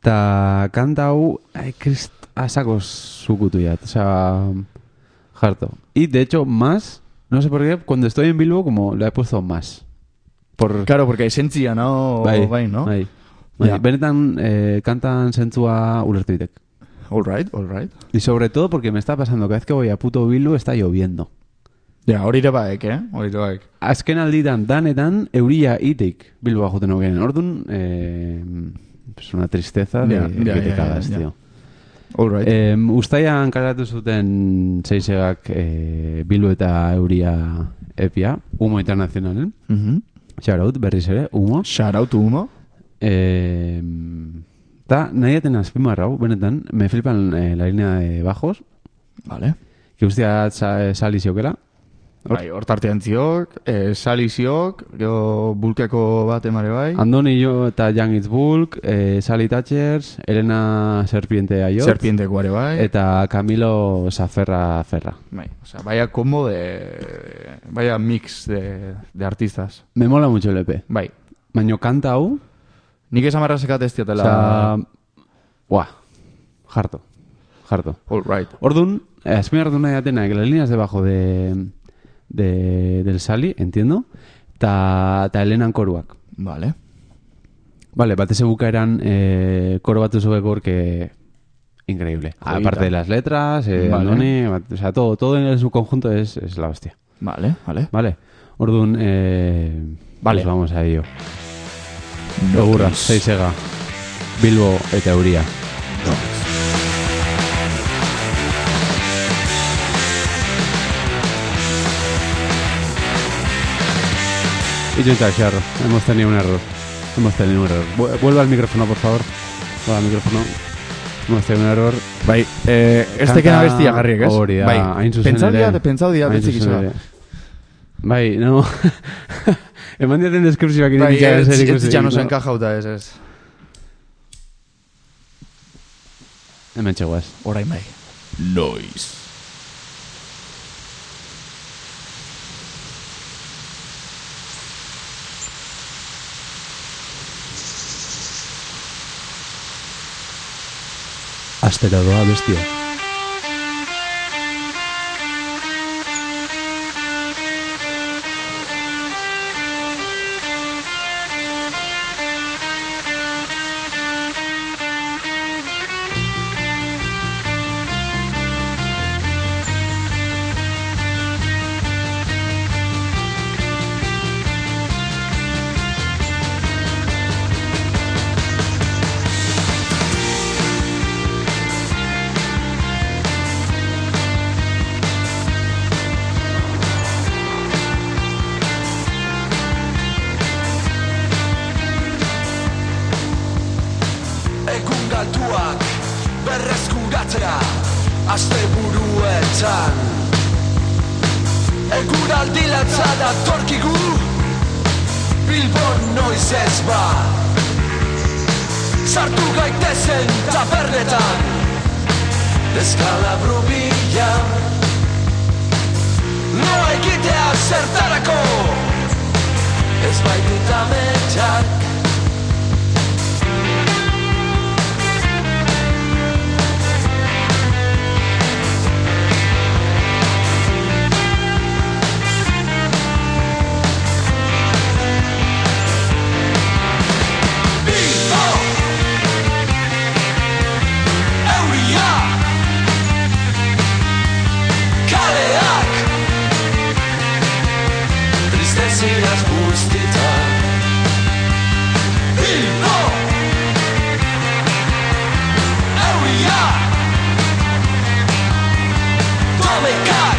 Speaker 3: Ta kanta hau, ai, krist, asako zukutu jat, osea, jarto. Y de hecho, más, no sé por qué, cuando estoy en Bilbo, como le he puesto más. Por...
Speaker 2: Claro, porque esentzia, no? Oh, Bai, no?
Speaker 3: Bai. Bai,
Speaker 2: Ja.
Speaker 3: Benetan, eh, kantan zentzua ulertu ditek.
Speaker 2: All right, all right.
Speaker 3: Y sobre todo porque me está pasando, cada vez que voy a puto Bilbo está lloviendo.
Speaker 2: Ja, hori ere baek, eh? Hori ere baek.
Speaker 3: Azken alditan danetan euria itik Bilboa joten hogeen. Orduan, eh, pues una tristeza de,
Speaker 2: Ja, ja,
Speaker 3: que te
Speaker 2: ja,
Speaker 3: cagas,
Speaker 2: ja, ja.
Speaker 3: tío.
Speaker 2: All right.
Speaker 3: Eh, Uztaian karatu zuten zeizegak eh, Bilbo eta euria epia, Humo Internacionalen.
Speaker 2: Mhm.
Speaker 3: Xaraut, berriz ere, Humo.
Speaker 2: Shout out to Humo.
Speaker 3: Eh, ta, nahi aten azpimarrau, benetan, me flipan eh, la línea de bajos,
Speaker 2: Vale.
Speaker 3: que ustea sa, sali ziokela.
Speaker 2: Bai, hor tartean ziok, eh, sali ziok, gero bulkeko bat emare bai.
Speaker 3: Andoni jo eta Jan Itzbulk, eh, Sally Thatchers, Elena Serpiente Aiot,
Speaker 2: Serpienteko ere bai.
Speaker 3: eta Camilo Saferra Ferra.
Speaker 2: Bai, o sea, vaya combo de... Vaya mix de, de artistas.
Speaker 3: Me mola mucho el EP.
Speaker 2: Bai.
Speaker 3: Baina kanta hau,
Speaker 2: Nik esan barra sekat ez diatela...
Speaker 3: Osa, Ua, jarto, jarto.
Speaker 2: All right.
Speaker 3: Ordun, eh, azpimarratu nahi atena, que las líneas debajo de, de, del sali, entiendo, ta, ta Elena koruak.
Speaker 2: Vale.
Speaker 3: Vale, batez bukaeran eh, koro bat uzue gorke increíble.
Speaker 2: Joyita.
Speaker 3: Aparte de las letras, eh,
Speaker 2: Vale.
Speaker 3: Andoni, bat- o sea, todo, todo en su conjunto es, es la hostia.
Speaker 2: Vale, vale.
Speaker 3: Vale, ordun, eh,
Speaker 2: Vale.
Speaker 3: pues vamos a ello. Egurra, zeizega, Bilbo e eta Euria. Y yo Char, hemos tenido un error. Hemos tenido un error. Vu- Vuelva al micrófono, por favor. Vuelva al micrófono. Hemos tenido un error.
Speaker 2: Bai, eh, ez
Speaker 3: Kanta
Speaker 2: teken abestia garriek, ez?
Speaker 3: Hori da, hain zuzen
Speaker 2: pentsau
Speaker 3: ere.
Speaker 2: diat, pentsau diat,
Speaker 3: Hain
Speaker 2: betzik
Speaker 3: zuzen
Speaker 2: izan.
Speaker 3: ere. Bai, no. Eman diaten deskripzioak
Speaker 2: Bai,
Speaker 3: irekia
Speaker 2: ez
Speaker 3: zer
Speaker 2: ez
Speaker 3: ikusi,
Speaker 2: ditxan
Speaker 3: no.
Speaker 2: oso enkajauta, ez, ez.
Speaker 3: Hemen txegoaz.
Speaker 2: Orain bai.
Speaker 4: Noise.
Speaker 3: Astera doa bestia.
Speaker 1: Egun galtuak berreskuratzera Aste buruetan Eguraldi latza datorkigu Bilbon noiz ez ba Sartu gaitezen tabernetan Deskalabru bila Lo egitea zertarako Ez baitut ametsak amekak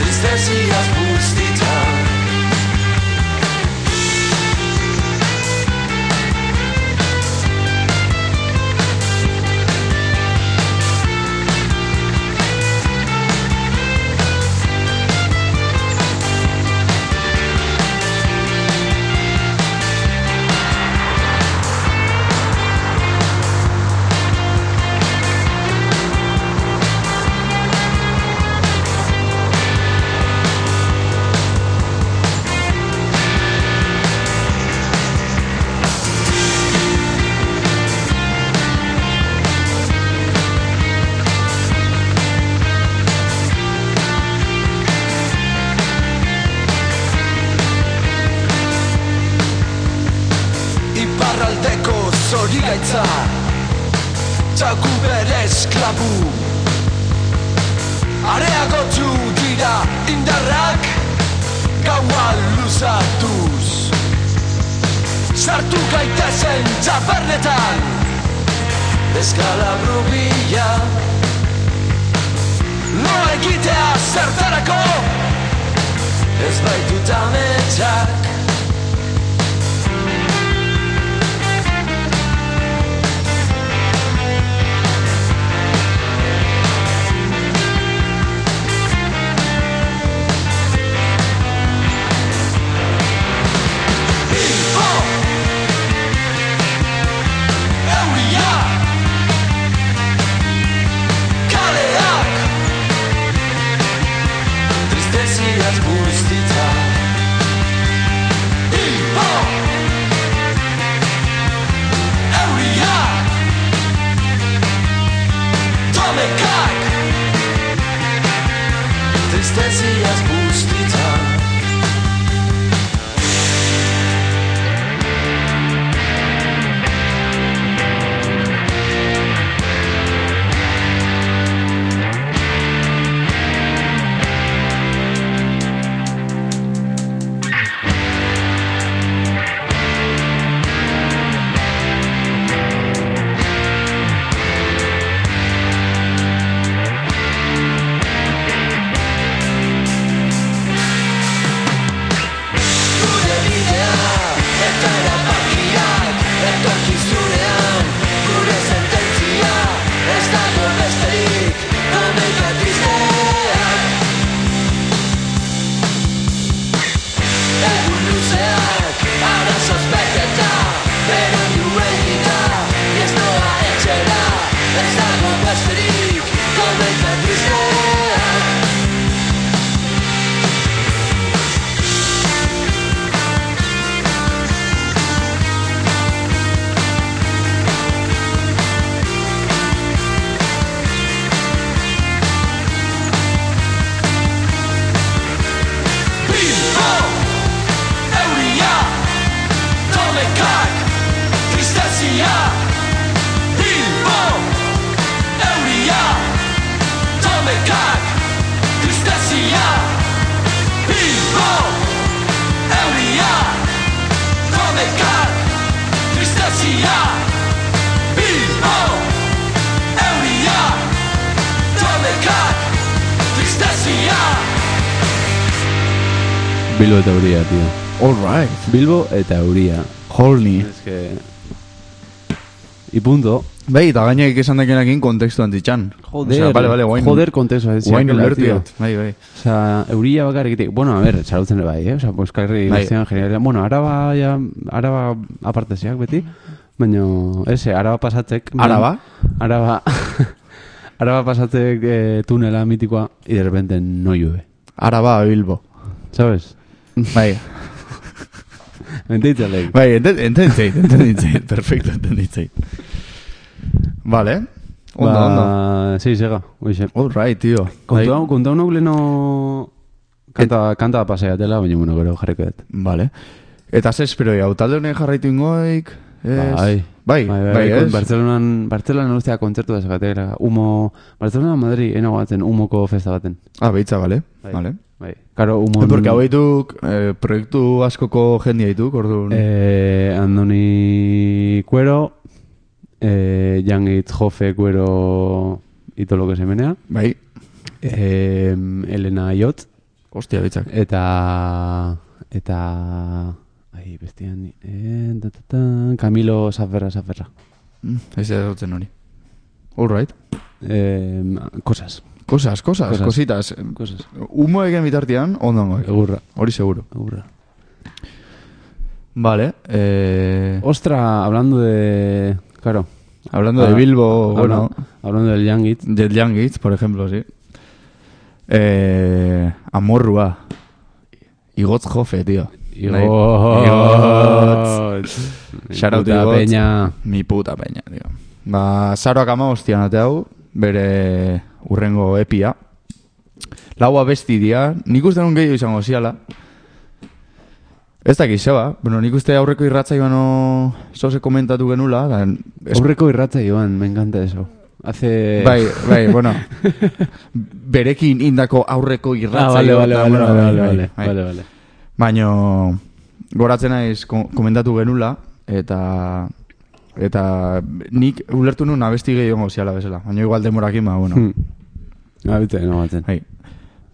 Speaker 1: Tristeziaz buztitan Iparraldeko zori gaitza Txaku bere esklabu Areagotu dira indarrak Gaua luzatuz Sartu gaitezen txapernetan Eskalabru bila Lo egitea zertarako Ez baitut ametsak Bilbo Euriak Kaleak Tristeziaz buztita Bilbo Euriak Tomekak Tristeziaz buztita Gure bidea eta erabakiak Etorkizunean gure sententzia Ez dago besterik Ameka tristea Egun luzeak Arazoz beteta Berandu egita Ez noa etxera Ez dago besterik Ameka tristea Bilbo, euria, tomekak, tristezia Bilbo, euria, tomekak, tristezia Bilbo, euria, tomekak, tristezia Bilbo, euria, tomekak, tristezia
Speaker 3: Bilbo eta Euria, tío.
Speaker 2: All right.
Speaker 3: Bilbo eta Euria.
Speaker 2: Holni.
Speaker 3: Es que... Y punto.
Speaker 2: Bai, eta gainek esan dekenakin kontekstuan ditxan. Osea, bale, bale, guain.
Speaker 3: Joder, konteso. Eh, ziakela,
Speaker 2: Guain
Speaker 3: tío.
Speaker 2: ulertiot. Bai, bai.
Speaker 3: Osa, eurila bakarrik egite- Bueno, a ber, txarautzen ere bai, eh? Osa, Euskarri
Speaker 2: Bai.
Speaker 3: guztian generalean. Bueno, araba, ja, araba aparteziak beti. Baina, ese, araba pasatzek.
Speaker 2: Araba?
Speaker 3: Araba, araba pasatzek eh, tunela mitikoa, y de repente no llueve.
Speaker 2: Araba, Bilbo.
Speaker 3: ¿Sabes?
Speaker 2: Bai.
Speaker 3: Menteitzalek.
Speaker 2: Bai, enten- entenditzait, entenditzait. Perfecto, entenditzait. Vale. Onda,
Speaker 3: ba,
Speaker 2: onda.
Speaker 3: Sí, sega, oixe.
Speaker 2: All right, tío.
Speaker 3: Kontu
Speaker 2: Bai.
Speaker 3: hau, kontu hau nuk leno... Kanta, kanta pasea dela, baina bueno, gero jarriko dut.
Speaker 2: Vale. Eta ze espero hau talde honen jarraitu ingoik? Ez?
Speaker 3: Bai.
Speaker 2: Bai, bai,
Speaker 3: kon-
Speaker 2: ez?
Speaker 3: Bartzelonan, Bartzelonan ustea kontzertu da sekatera. Humo, Bartzelonan Madri, eno batzen, humoko festa baten.
Speaker 2: Ah, behitza, vale. Vale.
Speaker 3: Bai. Karo, humo...
Speaker 2: Eh, Porque hau dituk, eh, proiektu askoko jendia dituk, orduan.
Speaker 3: Eh, Andoni Cuero, eh, Jan Itz Jofe Cuero itoloko semenea,
Speaker 2: Bai.
Speaker 3: eh, Elena Iot,
Speaker 2: Hostia, bitzak.
Speaker 3: Eh. eta... eta... Ai, bestian... Eh, ta, ta, ta, Camilo Saferra, Saferra.
Speaker 2: Mm, ez da dutzen hori. All right.
Speaker 3: Eh, cosas.
Speaker 2: Cosas, cosas,
Speaker 3: Cosas.
Speaker 2: cositas.
Speaker 3: Cosas.
Speaker 2: Humo egin bitartean, ondo dago.
Speaker 3: Egurra.
Speaker 2: Hori seguro.
Speaker 3: Egurra.
Speaker 2: Vale. Eh,
Speaker 3: Ostra, hablando de... Claro.
Speaker 2: hablando de
Speaker 3: Ah,
Speaker 2: Bilbo,
Speaker 3: habla-
Speaker 2: bueno,
Speaker 3: Hablando del Youngit.
Speaker 2: Jet Youngits, por ejemplo, sí. Eh, amorrua. Igotz jofe, tío. Nahi- Igotz. Shout out
Speaker 3: Puta
Speaker 2: Igotz.
Speaker 3: peña.
Speaker 2: Mi puta peña, tío. Ba, zaroak ama hostian ate hau, bere urrengo epia. Laua besti dia, nik uste nun gehiago izango ziala. Ez dakiz, zeba, bueno, nik uste aurreko irratza ibano zoze komentatu genula, da, es-
Speaker 3: Aurreko irratza joan, me encanta eso. Hace...
Speaker 2: Bai, bai, bueno. Berekin indako aurreko irratza.
Speaker 3: Ah, vale, vale, vale, vale, vale, vale, vale, vale.
Speaker 2: bai, Baina, goratzen naiz ko- komentatu genula, eta eta nik ulertu nuen abesti gehiago ziala bezala, baina igual demorakin ba, bueno.
Speaker 3: Hmm. Abitza, no batzen.
Speaker 2: Bai.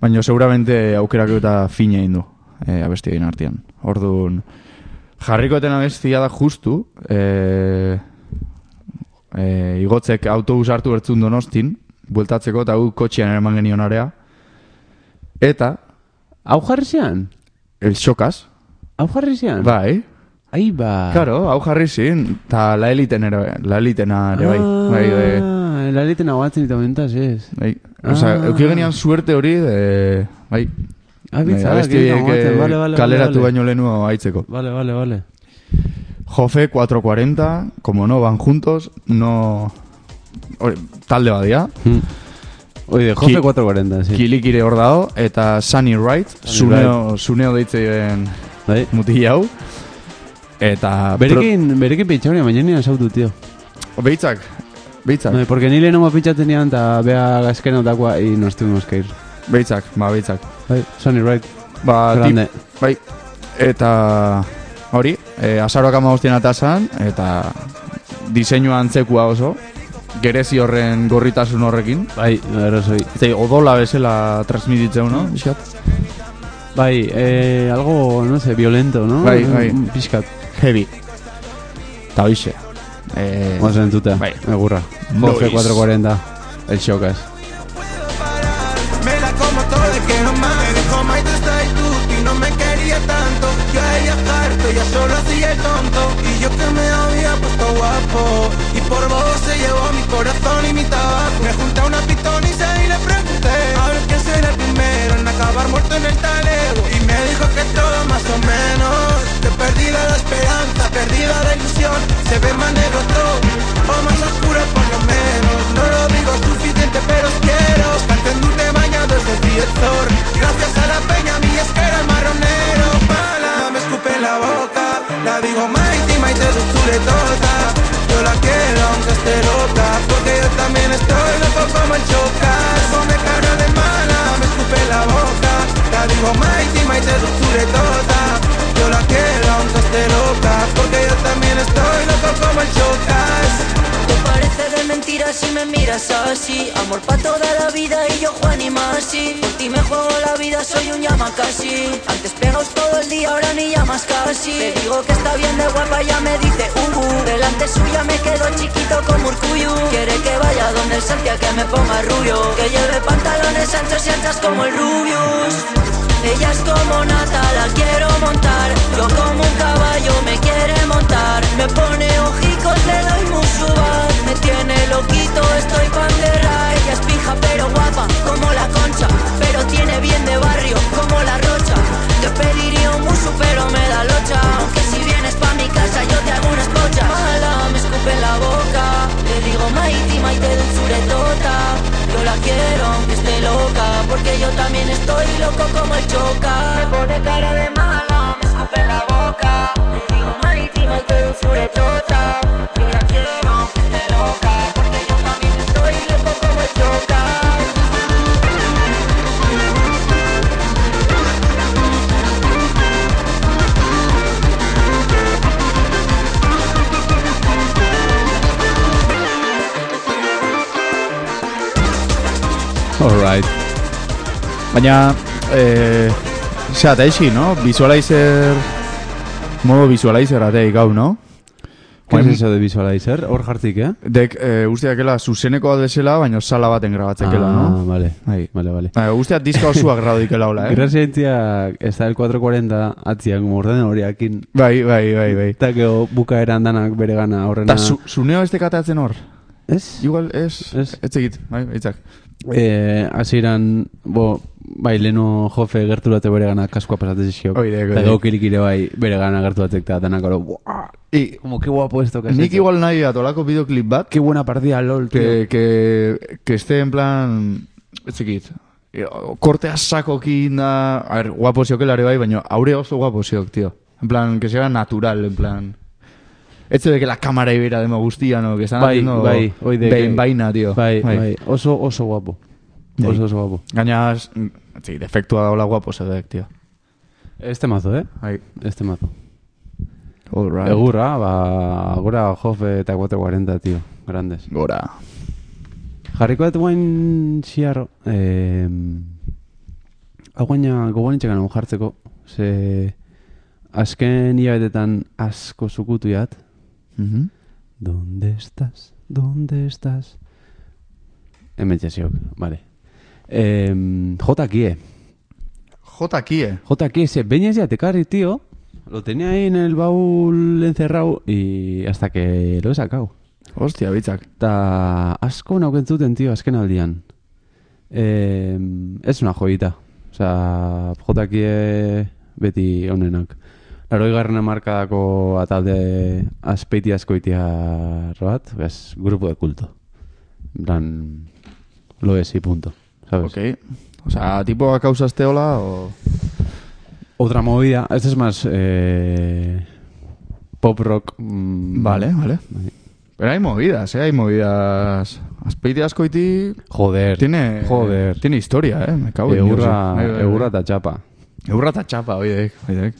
Speaker 2: Baina seguramente aukerak eta fine egin du e, abesti egin artean. Orduan, jarrikoeten abestia da justu, e, e, igotzek autobus hartu bertzun donostin, bueltatzeko eta hau kotxean eraman genion area. Eta,
Speaker 3: Hau jarri zian?
Speaker 2: el xokaz,
Speaker 3: Hau jarri zian?
Speaker 2: bai,
Speaker 3: Ai, ba.
Speaker 2: Claro, hau jarri zin, eta la eliten ere, la elitena ere bai. bai, de,
Speaker 3: Ah, el aliten hau batzen ditu mentaz, ez.
Speaker 2: bai. Osa,
Speaker 3: Ah.
Speaker 2: euki genian suerte hori, de, bai.
Speaker 3: Abitza,
Speaker 2: Bai, abesti
Speaker 3: hau
Speaker 2: horiek,
Speaker 3: batzen,
Speaker 2: eh,
Speaker 3: vale, vale.
Speaker 2: kaleratu
Speaker 3: vale,
Speaker 2: baino lehenu haitzeko.
Speaker 3: Vale, vale, vale.
Speaker 2: Jofe 440, como no van juntos, no... Hori, talde badia,
Speaker 3: Hmm. Oide, jofe
Speaker 2: Ki-
Speaker 3: 440, sí.
Speaker 2: kilikire hor dago, eta Sunny Wright, suneo, suneo deitzen
Speaker 3: Bai.
Speaker 2: mutila hau. Eta...
Speaker 3: Berekin, berekin pitxaunia, baina nina sautu, tío.
Speaker 2: pro- Beitzak, beitzak,
Speaker 3: No, porque nile nomo pitxaten nian, eta bea gazken otakua, y nos tuvimos que ir.
Speaker 2: beitzak, ba, beitzak.
Speaker 3: Bai, Sonny Wright,
Speaker 2: Ba, tip-
Speaker 3: grande.
Speaker 2: Bai, eta hori, e, azaroak amagoztien atasan, eta diseinua antzekua oso, gerezi horren gorritasun horrekin.
Speaker 3: Bai, erosoi.
Speaker 2: Eta odola bezala transmititzeu, no? Bizkat?
Speaker 3: Bai, eh, algo, no sé, violento, ¿no?
Speaker 2: Bai, bai.
Speaker 3: Mm, Pixkat.
Speaker 2: Heavy. Eta hoxe. E,
Speaker 3: Vamos a entuta.
Speaker 2: Bai.
Speaker 3: Egurra. Jofe 440. El Shokas.
Speaker 5: Me la como todo de que no más Me dejó my style tú y no me quería tanto Yo a ella harto, ya solo hacía el tonto Y yo que me había puesto guapo Y por vos se llevó mi corazón y mi tabaco Me junté a una pitoniza y le pregunté A ver quién será el primero en acabar muerto en el talego Y me dijo que todo más o menos Que perdida la esperanza, perdida la ilusión Se ve más negro todo, o más oscuro por lo menos No lo digo suficiente pero os quiero Cantando un bañado desde Fiestor Gracias a la peña mi es que era el marronero Mala me escupe en la boca La digo Mighty, Mighty de su tota Yo la quiero aunque esté loca Porque yo también estoy loco como el chocas Come cara de mala me escupe en la boca La digo Mighty, Mighty de su tota Yo la quiero aunque esté loca Porque yo también estoy loco como el chocas
Speaker 6: Tú pareces de mentira si me miras así Amor pa' toda la vida y yo Juan y Masi Por ti me juego la vida, soy un llama casi Antes pegaos todo el día, ahora ni llamas casi Te digo que está bien de guapa, ya me dice uh, uh. Delante suya me quedo chiquito como Urcuyu Quiere que vaya donde el Santia, que me ponga rubio Que lleve pantalones anchos y anchas como el Rubius ella es como nata, la quiero montar Yo como un caballo, me quiere montar Me pone ojicos, le doy musuba Me tiene loquito, estoy pa' enterrar Ella es pija pero guapa, como la concha Pero tiene bien de barrio, como la rocha Te pediría un musu pero me da locha Aunque si vienes pa' mi casa yo te hago unas pochas Mala, me escupe en la boca Le digo maiti, maite dulzuretota Yo la quiero aunque esté loca Porque yo también estoy loco como el choca Me pone cara de mala, me escupe en la boca Le digo maiti, maite dulzuretota Yo la quiero aunque esté loca Porque yo también estoy loco como el choca
Speaker 3: Alright.
Speaker 2: Baina, eh, zera, eta eixi, no? Visualizer, modo visualizer ateik hau, no?
Speaker 3: ¿Qué es
Speaker 2: Oain-
Speaker 3: eso de visualizer? Hor jartik, eh?
Speaker 2: Dek, e, uste dakela, zuzeneko bat bezala, baina sala baten grabatzekela,
Speaker 3: ah,
Speaker 2: no?
Speaker 3: vale.
Speaker 2: Bai.
Speaker 3: Vale, vale.
Speaker 2: Ba, uste dat diska osuak graudikela hola, eh?
Speaker 3: Gracia entziak, ez da el ah, 440 atziak morden horiakin.
Speaker 2: Bai, bai, bai, bai.
Speaker 3: Eta gero bukaeran danak bere gana horrena.
Speaker 2: Eta zu, zuneo ez tekatatzen hor?
Speaker 3: Ez?
Speaker 2: Igual, ez,
Speaker 3: Ez.
Speaker 2: ez, ez egit, bai, itzak.
Speaker 3: Eh, hasieran, bo, bai, leno jofe gerturate bere gana kaskoa pasatzen zizkiok.
Speaker 2: Oidek,
Speaker 3: Eta
Speaker 2: oidek.
Speaker 3: gero kilik ere bai, bere gana gerturatek eta danak oro, "Buah,
Speaker 2: I,
Speaker 3: como que guapo esto que has
Speaker 2: nik
Speaker 3: hecho".
Speaker 2: igual nahi dat, olako bideoklip bat,
Speaker 3: Qué buena partida, lol, tío.
Speaker 2: que, que, que esté en plan, ez egit, e, o- kortea sakokin da, a ver, guapo ziokela ere bai, baina aure oso guapo ziok, tío. En plan, que sea natural, en plan... Ez zebe que la cámara ibera demo guztia, no? Que están
Speaker 3: Bai,
Speaker 2: haciendo
Speaker 3: bai, oidek,
Speaker 2: behin
Speaker 3: eh.
Speaker 2: baina, tío.
Speaker 3: Bai, bai, oso, oso guapo.
Speaker 2: Bai.
Speaker 3: Oso, oso guapo.
Speaker 2: Gaina, mm, ez- ez egit, efektua daula guapo zedek, tío.
Speaker 3: Este mazo, eh?
Speaker 2: Bai.
Speaker 3: Este mazo.
Speaker 2: All right.
Speaker 3: Egurra, ba, gora jofe eta 440, tío. Grandes.
Speaker 2: Gora.
Speaker 3: Jarriko dut guen ziar... Eh, hau gaina gogoan itxekan hau jartzeko. Ze... Azken hilabetetan asko zukutu jat.
Speaker 2: Mhm.
Speaker 3: ¿Dónde estás? ¿Dónde estás? Hemen txasiok, vale. Eh, jota kie.
Speaker 2: Jota aquí, eh.
Speaker 3: Jota kie, E, ze, baina ez jatekarri, tío. Lo tenía ahí en el baúl encerrado y hasta que lo he sacado.
Speaker 2: Hostia, bitzak.
Speaker 3: Eta asko naukentzuten, tío, azken aldian. Eh, ez una joyita. Osa, jotakie beti onenak. Laroi garren amarkadako atalde azpeiti askoitiar bat, bez, grupo de culto. En plan, lo es y punto. ¿Sabes?
Speaker 2: Ok. O sea, tipo a causa esteola o...
Speaker 3: Otra movida, este es más eh, pop rock. mm,
Speaker 2: Vale, vale. Pero hay movidas, ¿eh? Hay movidas... Azpeite askoiti...
Speaker 3: Joder.
Speaker 2: Tiene...
Speaker 3: Joder.
Speaker 2: Tiene historia, ¿eh? Me cago en Dios.
Speaker 3: Eurra,
Speaker 2: Bai, bai, bai.
Speaker 3: eurra eta txapa.
Speaker 2: Eurra eta txapa, oidek. Oidek.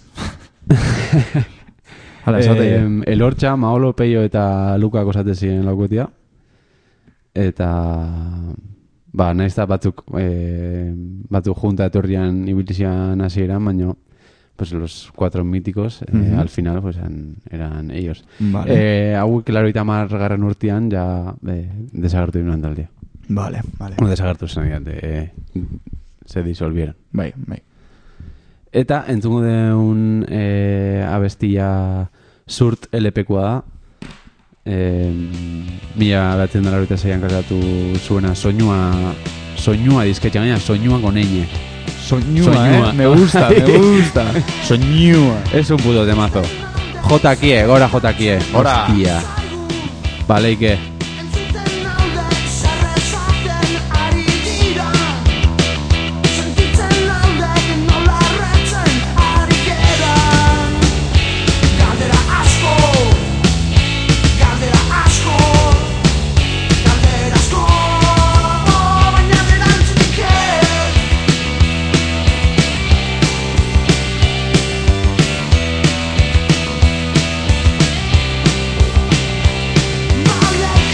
Speaker 2: Hala,
Speaker 3: Eh,
Speaker 2: esate. Eh,
Speaker 3: Elortxa, Maolo, Peio eta Luka kosate ziren laukotia. Eta... Ba, nahiz eta batzuk, eh, batzuk junta etorrian ibilizian hasieran, baino pues los cuatro míticos, eh,
Speaker 2: Mhm.
Speaker 3: al final, pues eran, eran ellos.
Speaker 2: Vale.
Speaker 3: Eh, hau, klaro, garran urtean, ja, eh, desagertu inuan taldia.
Speaker 2: vale, vale.
Speaker 3: Bueno, desagertu zen, ja, de- se disolvieron.
Speaker 2: Bai, bai.
Speaker 3: Eta entzungo deun e, abestia zurt LPkoa da. E, mila batzen dara horita zeian kasatu zuena soinua, soinua dizketxan gaina, soinua goneine.
Speaker 2: Soñua,
Speaker 3: Soñua.
Speaker 2: eh? Me gusta, me gusta. Soñua.
Speaker 3: Es un puto temazo. Jotakie, gora jotakie.
Speaker 2: Gora.
Speaker 3: Hostia. Baleike.
Speaker 7: Entzuten naudek zerrezaten ari dira Sentitzen naudek nola retzen ari gara
Speaker 1: Galdera asko Galdera asko Galdera asko Baina erantzunik ez
Speaker 7: Malek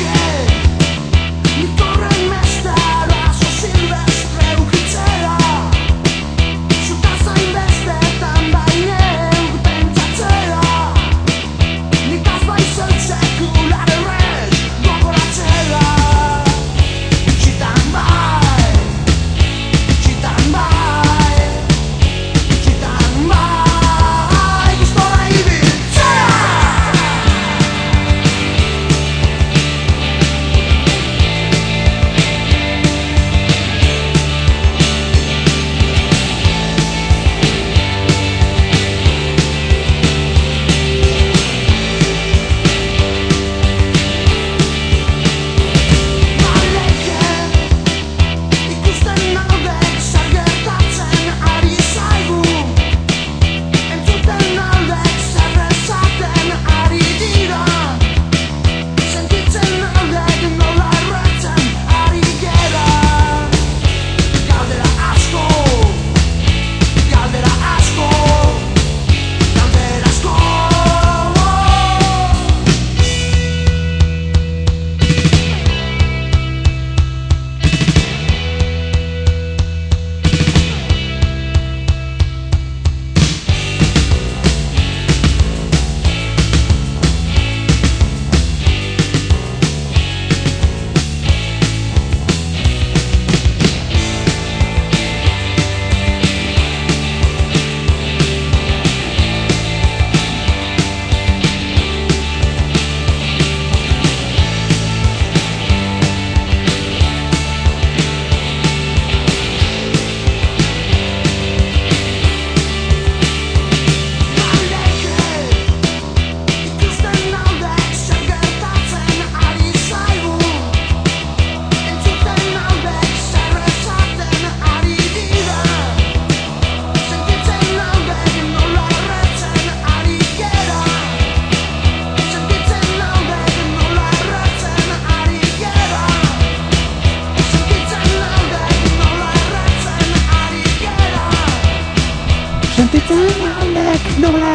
Speaker 3: nola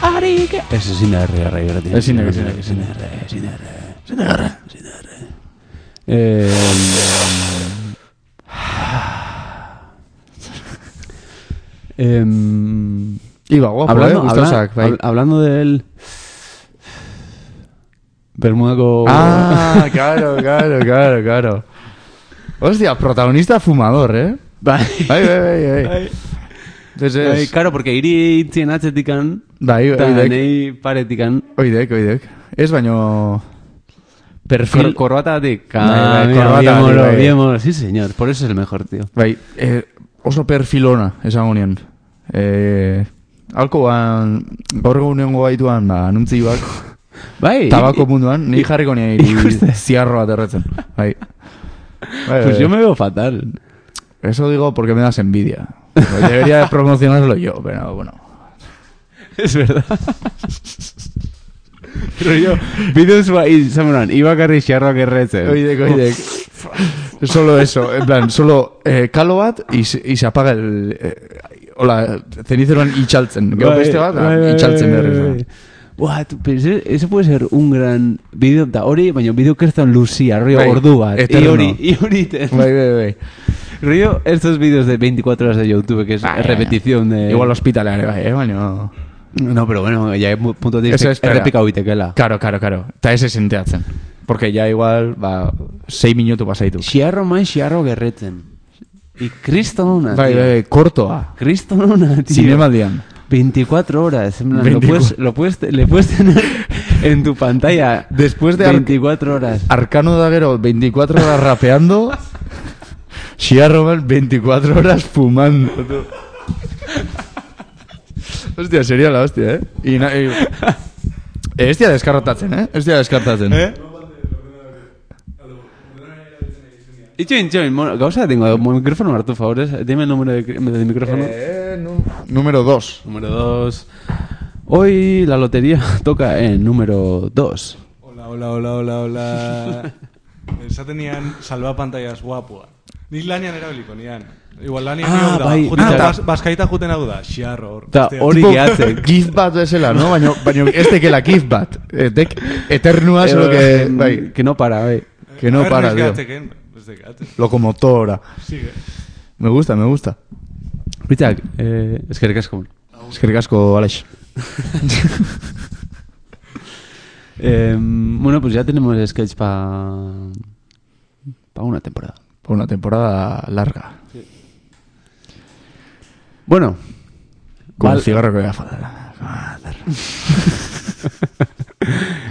Speaker 3: ari ge... Ez ezin da herri herri herri.
Speaker 2: Ezin da, ezin da,
Speaker 3: ezin da herri, ezin da herri. Ezin da herri, ezin da herri. Em, em,
Speaker 2: Iba, guapo,
Speaker 3: hablando,
Speaker 2: eh,
Speaker 3: habla-
Speaker 2: gustausak, bai.
Speaker 3: habl- hablando del... Bermudako...
Speaker 2: Ah, claro, claro, claro, claro. Hostia, protagonista fumador, eh?
Speaker 3: Bai.
Speaker 2: Bai, bai, bai, bai. Entonces,
Speaker 3: Bai, claro, porque hiri itzien atzetikan,
Speaker 2: Bai,
Speaker 3: eta
Speaker 2: oidek.
Speaker 3: nei paretikan,
Speaker 2: oidek, oidek. Ez baino... Perfil...
Speaker 3: Cor corbatatik.
Speaker 2: Ah,
Speaker 3: Ah,
Speaker 2: bai,
Speaker 3: mira,
Speaker 2: corbatatik,
Speaker 3: bien moro,
Speaker 2: bai.
Speaker 3: bien moro. Sí, señor. Por eso es el mejor, tío.
Speaker 2: Bai, eh, oso perfil ona, esango nien. Eh, alkoan, gaur egun nengo gaituan, ba, nuntzi bak,
Speaker 3: Bai.
Speaker 2: tabako
Speaker 3: y-
Speaker 2: munduan, ni jarriko nien
Speaker 3: Ikusten.
Speaker 2: ziarro bat erretzen. Bai. Bai,
Speaker 3: Pues
Speaker 2: bai,
Speaker 3: yo
Speaker 2: bai.
Speaker 3: me veo fatal.
Speaker 2: Eso digo porque me das envidia. Debería de promocionarlo yo, pero bueno.
Speaker 3: Es verdad. Pero yo, videos ba, izan beran, ibakarri xarroak erretzen.
Speaker 2: Oidek, oidek. Solo eso, en plan, solo eh, kalo bat y, se- y se apaga el... Eh, hola, zenizeroan itxaltzen. Gero
Speaker 3: Bai,
Speaker 2: beste bat,
Speaker 3: bai, bai,
Speaker 2: itxaltzen
Speaker 3: bai,
Speaker 2: berriz.
Speaker 3: bai. eh, Buah, tu, pero ese, ese puede ser un gran video, da hori, baina video kertan luzia, río
Speaker 2: Bai,
Speaker 3: ordu bat.
Speaker 2: eterno.
Speaker 3: Y hori, y hori, te-
Speaker 2: Bai, bai, bai.
Speaker 3: Río, estos vídeos de 24 horas de YouTube, que es
Speaker 2: Bai,
Speaker 3: repetición de...
Speaker 2: Ah, Igual ospitalean, bai, eh, baino...
Speaker 3: No, pero bueno, ya es punto de
Speaker 2: Eso
Speaker 3: vista
Speaker 2: espera.
Speaker 3: errepika huitekela.
Speaker 2: Karo, karo, karo. Eta ez esenteatzen. Porque ya igual, ba, sei minutu pasaitu.
Speaker 3: Xiarro man xiarro gerretzen. Y kristonona,
Speaker 2: Bai,
Speaker 3: tío.
Speaker 2: bai, bai, kortoa.
Speaker 3: Kristonona, tío.
Speaker 2: Zinemaldian.
Speaker 3: 24 horas. en plan, Lo
Speaker 2: 24.
Speaker 3: puedes, lo puedes, te- le puedes tener en tu pantalla
Speaker 2: Después de ar-
Speaker 3: 24 horas.
Speaker 2: Arcano da gero 24 horas rapeando. Shia Robert 24 horas fumando. tú. Hostia, sería la hostia, eh. Y na, y... Ez dira deskarrotatzen, eh? Ez dira deskartatzen. Eh?
Speaker 3: Itxoin, itxoin, mono- gauza tengo micrófono hartu, favores. Dime el número de, cri- de micrófono.
Speaker 2: Eh, Número 2.
Speaker 3: Número 2. Hoy la lotería toca en número 2.
Speaker 8: Hola, hola, hola, hola, hola. Eh, Esaten nian, salba pantallas guapua. Nik lanean erabiliko nian. Igual lanean
Speaker 3: Ah,
Speaker 8: ah, da.
Speaker 3: bai,
Speaker 8: juten
Speaker 3: ah,
Speaker 8: hau da,
Speaker 3: ta-
Speaker 8: baskaita juten hau da. Xiarro hor.
Speaker 3: Ta oh,
Speaker 8: Hostia.
Speaker 3: hori gehatzen.
Speaker 2: Gif bat bezala, no? Baina, baina este ez tekela gif bat. Eh, Tek eternua zelo que... Bai,
Speaker 3: Eh, que no para, eh. bai.
Speaker 2: que no
Speaker 8: A ver,
Speaker 2: para,
Speaker 8: ez
Speaker 2: tío.
Speaker 8: gehatzeken, ez gehatzen.
Speaker 2: Locomotora.
Speaker 8: Sigue.
Speaker 2: Me gusta, me gusta.
Speaker 3: Bitzak, eh, eskerrik asko.
Speaker 2: Eskerrik asko, Alex.
Speaker 3: Eh, bueno, pues ya tenemos sketch para pa una temporada.
Speaker 2: Por una temporada larga.
Speaker 3: Bueno,
Speaker 2: Con
Speaker 3: Val-
Speaker 2: el cigarro que voy a faltar.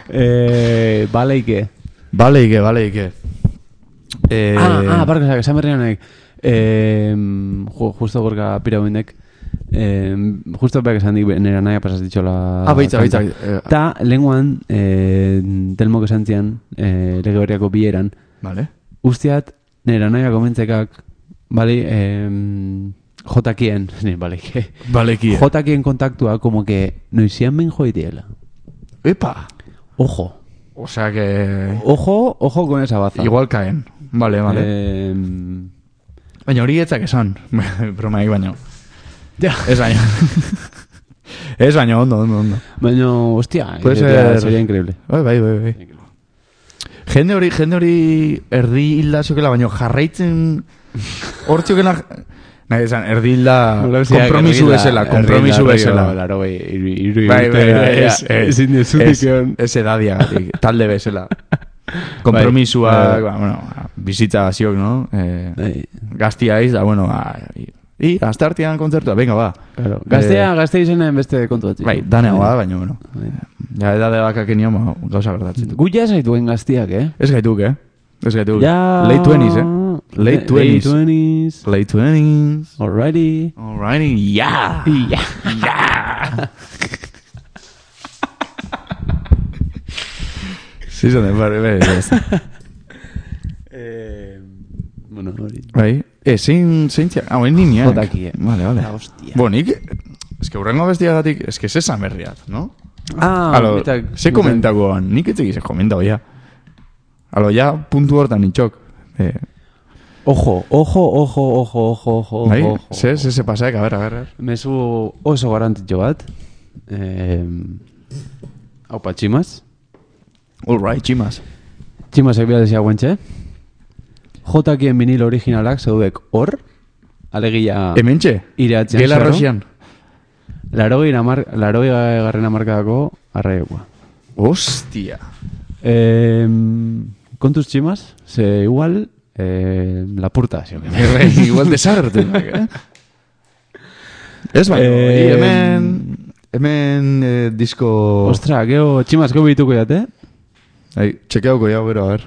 Speaker 3: eh, vale y qué.
Speaker 2: Vale, y que, vale, y que. Eh,
Speaker 3: Ah, ah, barkazak, esan berri honek. Eh, jo, justo borka pirauindek. Eh, justo berak esan dik, nera naia pasaz ditxola.
Speaker 2: Ah, baitza,
Speaker 3: kanta.
Speaker 2: baitza, eh,
Speaker 3: Ta, lenguan, eh, telmok esan zian, eh, lege berriako bileran,
Speaker 2: Vale.
Speaker 3: Usteat, nera naia komentzekak, bali, em, jotakien, ne, bali,
Speaker 2: Valekie.
Speaker 3: jotakien kontaktua, como que noizian ben joitiela.
Speaker 2: Epa.
Speaker 3: Ojo,
Speaker 2: O sea que...
Speaker 3: ojo, ojo con esa baza.
Speaker 2: Igual caen. Vale,
Speaker 3: Eh.
Speaker 2: vale.
Speaker 3: Em,
Speaker 2: Baina hori etzak esan. Bromaik baino. Ja. Ez baino. Ez baino, ondo, ondo, ondo.
Speaker 3: baina, hostia,
Speaker 2: Puede
Speaker 3: sería-
Speaker 2: ser-
Speaker 3: sería increíble.
Speaker 2: Bai, bai, bai, bai. Jende hori, jende hori erdi hilda zokela, baino jarraitzen hortziokena... Nahi esan, erdi hilda kompromisu bezala, kompromisu bezala.
Speaker 3: Laro, bai, iru, iru,
Speaker 2: Bai, bai, bai, ez, ez,
Speaker 3: Ezin
Speaker 2: ez,
Speaker 3: dezutik egon.
Speaker 2: ez edadiagatik, talde bezala. Kompromisua,
Speaker 3: Bai.
Speaker 2: ba, bueno, bizitza ziok, no? Eh,
Speaker 3: Bai,
Speaker 2: gaztia iz, da, bueno, ba, i, hasta artean kontzertua, venga, ba.
Speaker 3: claro. Gaztea,
Speaker 2: Eh,
Speaker 3: gaztea izenen beste kontu bat.
Speaker 2: Bai, daneo ba, baina, bueno.
Speaker 3: Bai.
Speaker 2: Ja, edade bakak enion, ba, gauza gertatzen.
Speaker 3: Gu ja zaituen gaztiak, eh?
Speaker 2: Ez gaituk, eh? Ez gaituk.
Speaker 3: Ja...
Speaker 2: Late 20s, eh? Late 20s.
Speaker 3: Late 20s.
Speaker 2: Late 20s.
Speaker 3: Alrighty.
Speaker 2: Alrighty, yeah!
Speaker 3: Ja.
Speaker 2: Sí, zaten, bai, bai, bai.
Speaker 3: Bueno, hori.
Speaker 2: Bai, eh, zein, zein txak, hau, hain nineak.
Speaker 3: Jotaki, eh.
Speaker 2: Vale, vale.
Speaker 3: Ah, hostia.
Speaker 2: Bo, nik, ez que hurrengo bestiagatik, ez que zesan berriat, no?
Speaker 3: Ah,
Speaker 2: Alo, ze komentagoan, nik etzik ze komentago, ja. Alo, ja, puntu hortan itxok. Eh,
Speaker 3: Ojo, ojo, ojo, ojo, ojo, ojo,
Speaker 2: Bai?
Speaker 3: ojo, oh, ojo.
Speaker 2: Ze, ze, ze pasaek, a ber, a ber, a ber.
Speaker 3: Mezu oso garantitxo bat. Eh, hau pa, tximaz.
Speaker 2: All right, chimas.
Speaker 3: Tximazek bera desia guentxe. Jotakien vinil originalak zeudek hor. Alegia...
Speaker 2: Hementxe?
Speaker 3: Iratzean
Speaker 2: Gela
Speaker 3: zaro.
Speaker 2: Eh, Rosian.
Speaker 3: Larogei amar, larogei garren amarkadako arraiokoa.
Speaker 2: Hostia.
Speaker 3: Eh, kontuz tximaz, ze igual eh, lapurta. zio.
Speaker 2: Erre, igual desagertu. eh? Ez bai,
Speaker 3: Eh,
Speaker 2: hemen... Hemen eh, disko...
Speaker 3: Ostra, geho, tximaz, geho bituko jate?
Speaker 2: Ai, txekeauko jau gero, a ber.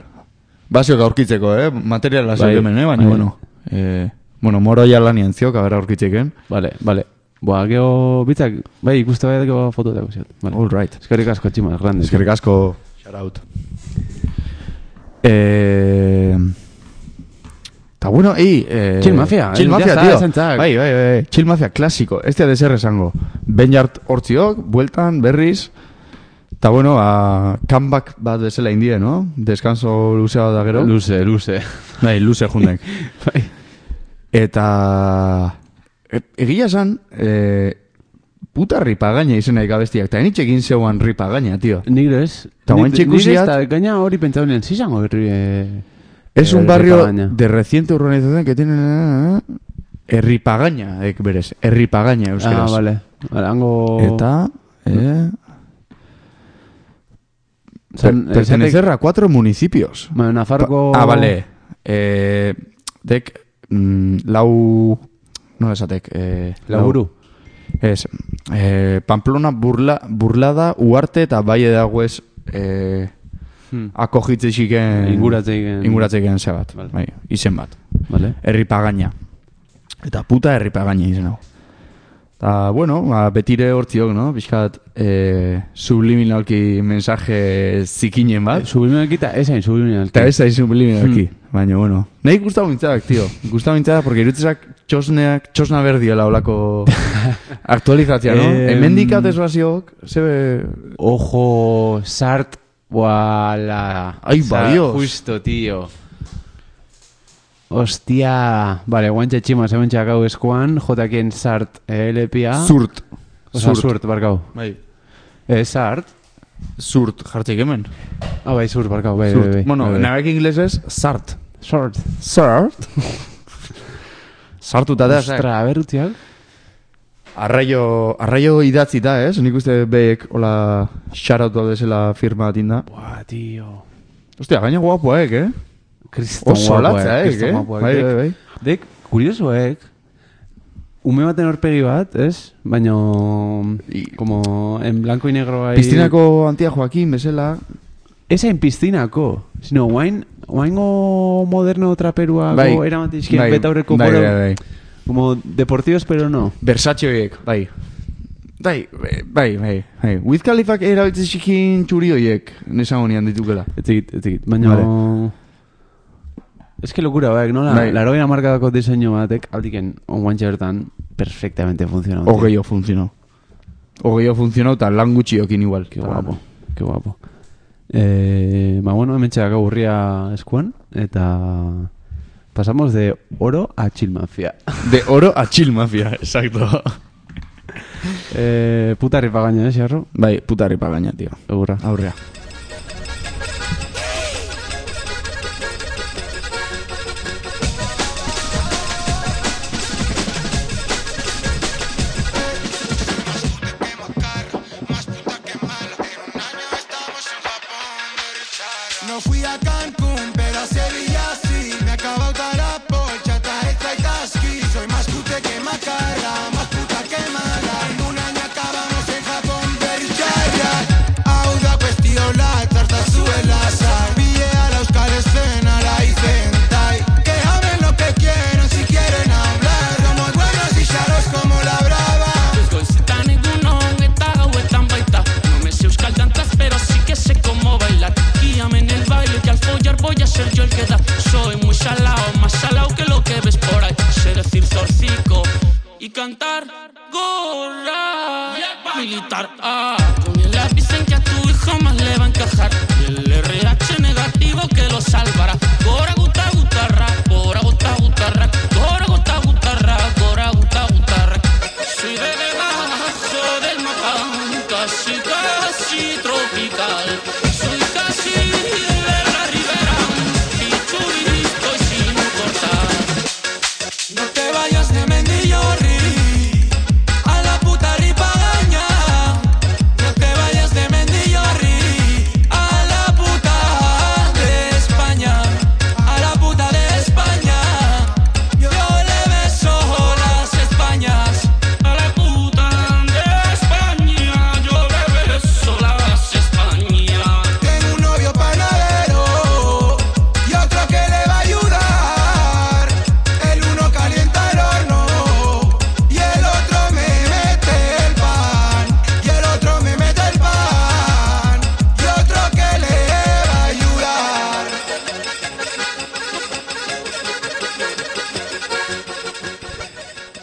Speaker 2: Baziok aurkitzeko, eh? Materiala
Speaker 3: Bai,
Speaker 2: bai, hemen, eh? Baina,
Speaker 3: bai.
Speaker 2: bueno. Eh, bueno, moro ja lanien ziok, a ber aurkitzeken.
Speaker 3: Vale, vale. Boa, geho, bitzak, bai, ikuste bai dago fototako ziot. Vale.
Speaker 2: All right.
Speaker 3: Eskerrik asko, tximaz, grande.
Speaker 2: Eskerrik asko. Shout out. Eh... Ta bueno, ei... Eh,
Speaker 3: Chill Mafia,
Speaker 2: Chill
Speaker 3: eh,
Speaker 2: Mafia,
Speaker 3: jazta,
Speaker 2: tío.
Speaker 3: esantzak.
Speaker 2: Bai, bai, bai. Chill Mafia, klasiko. Ez da deser esango. Benjart hortziok, bueltan, berriz... Ta bueno, a, comeback bat bezala indie, no? Descanso luzea bat da gero.
Speaker 3: Luze, luze.
Speaker 2: Bai, luze jundek.
Speaker 3: bai.
Speaker 2: Eta... E, egia esan, e, puta ripagaina izena ikabestiak. Ta enitxe egin zeuan ripagaina, tío.
Speaker 3: Nik ez.
Speaker 2: Ta guantxe ikusiat-
Speaker 3: Nik ez, gaina hori pentsatu nien, zizango berri... eh,
Speaker 2: Es
Speaker 3: eh,
Speaker 2: un barrio
Speaker 3: Ripagaña.
Speaker 2: de reciente urbanización que tiene... eh, Erripagaña, ek berez.
Speaker 3: Ah,
Speaker 2: Erripagaña, euskeraz.
Speaker 3: vale. Vale, hango...
Speaker 2: Eta... Eh,
Speaker 3: San-
Speaker 2: per- pertenecer a cuatro municipios.
Speaker 3: Bueno, Nafarko...
Speaker 2: Pa- Ah, vale. Eh, dek... Mm, lau... No esatek. Eh,
Speaker 3: Laburu.
Speaker 2: Ez. Eh, Pamplona, burla, burlada, uarte eta baie dagoez... Eh,
Speaker 3: Hmm.
Speaker 2: akogitzexiken...
Speaker 3: Inguratzeiken.
Speaker 2: Inguratzeiken zebat.
Speaker 3: Vale.
Speaker 2: Bai, izen bat.
Speaker 3: Vale.
Speaker 2: Herripagaina. Eta puta herripagaina izen hau. Eta, bueno, ba, betire hortziok, no? Bizkat, eh, subliminalki mensaje zikinen
Speaker 3: Eh,
Speaker 2: bat.
Speaker 3: Subliminalki eta esain subliminalki.
Speaker 2: Eta ez da subliminalki. Baina, bueno. Nahi gustau mintzak, tio. Gustau mintzak, porque irutzak txosneak, txosna berdiola olako aktualizatzea, no?
Speaker 3: Em,
Speaker 2: Hemendikat ez baziok, zebe...
Speaker 3: Ojo, Sart, wala.
Speaker 2: Ai, ba,
Speaker 3: Sart,
Speaker 2: Dios.
Speaker 3: Justo, tío. Hostia. Vale, guantxe txima, hemen txakau eskuan, jotakien Sart eh, LPA.
Speaker 2: Zurt.
Speaker 3: Osa,
Speaker 2: Zurt.
Speaker 3: zurt, barkau.
Speaker 2: Ah? Bai.
Speaker 3: Eh, Sart.
Speaker 2: Zurt, jartzik hemen.
Speaker 3: Ah, bai, zurt, barkau, bai, bai,
Speaker 2: Zurt.
Speaker 3: bai.
Speaker 2: Bueno,
Speaker 3: bai, bai.
Speaker 2: nabek inglesez, zart.
Speaker 3: Sart.
Speaker 2: Zart. Sartuta da, zak.
Speaker 3: Ostra, berrutiak.
Speaker 2: Arraio, arraio idatzi da, ez? Nik uste behek, hola, xarautu desela firma atinda.
Speaker 3: Buah, tío.
Speaker 2: Hostia, gaina guapoek, eh?
Speaker 3: Kriston
Speaker 2: Oso latza, eh,
Speaker 3: kriston
Speaker 2: eh?
Speaker 3: guapoak,
Speaker 2: Bai,
Speaker 3: dek.
Speaker 2: bai, bai.
Speaker 3: Dek, kuriosoek, ume baten horpegi bat, ez? Baina,
Speaker 2: I-
Speaker 3: como en blanco y negro bai...
Speaker 2: Piztinako antia Joaquin, bezala.
Speaker 3: Ez hain piztinako, sino guain, guaingo moderno traperuago bai, eramatizkien bai, betaurreko
Speaker 2: bai,
Speaker 3: poro-
Speaker 2: bai, bai.
Speaker 3: Como deportivos, pero no.
Speaker 2: Versace horiek, bai. Bai, bai, bai, bai. Wiz Khalifak erabiltzen zikin txuri horiek, nesango nian ditukela.
Speaker 3: Etzikit, etzikit, baina...
Speaker 2: Vale.
Speaker 3: Es que locura, bai, nola?
Speaker 2: Bai.
Speaker 3: Bai. Larogeina markadako diseño batek, altiken, onguantxe bertan, perfectamente funciona.
Speaker 2: Ogeio funtzionau. Ogeio funtzionau eta lan gutxiokin igual.
Speaker 3: Qué guapo, qué guapo. Eh, ba, bueno, hemen txak aburria eskuan, eta pasamos de oro a chilmafia.
Speaker 2: De oro a chill mafia, exacto.
Speaker 3: eh, puta ripagaña, eh, xerro?
Speaker 2: Bai, putari pagaina, tío.
Speaker 3: Egurra.
Speaker 2: Aurrea.
Speaker 5: No fui a Cancún, pero a Sevilla sí. Me acabo de la polcha, tarjeta y casqui. Soy más cute que macara, más puta que mala. En un año acabamos en Japón, Berchaya. Auda cuestiona, tarta sube la sal. Pille a la Euskal Escena, la Icentai. Que hablen lo que quieran, si quieren hablar. Somos buenos y charos como la brava.
Speaker 9: Goiz eta egun eta gauetan baita No me sé euskal danzas, pero sí que sé cómo bailar Guíame en el baile que al follar voy a ser yo el que da Soy muy salao, más salao que lo que ves por ahí Sé decir zorcico y cantar gorra Militar, ah, con el lápiz en que a tu hijo más le va a encajar Y el RH negativo que lo salvará Gora guta gutarra, gora guta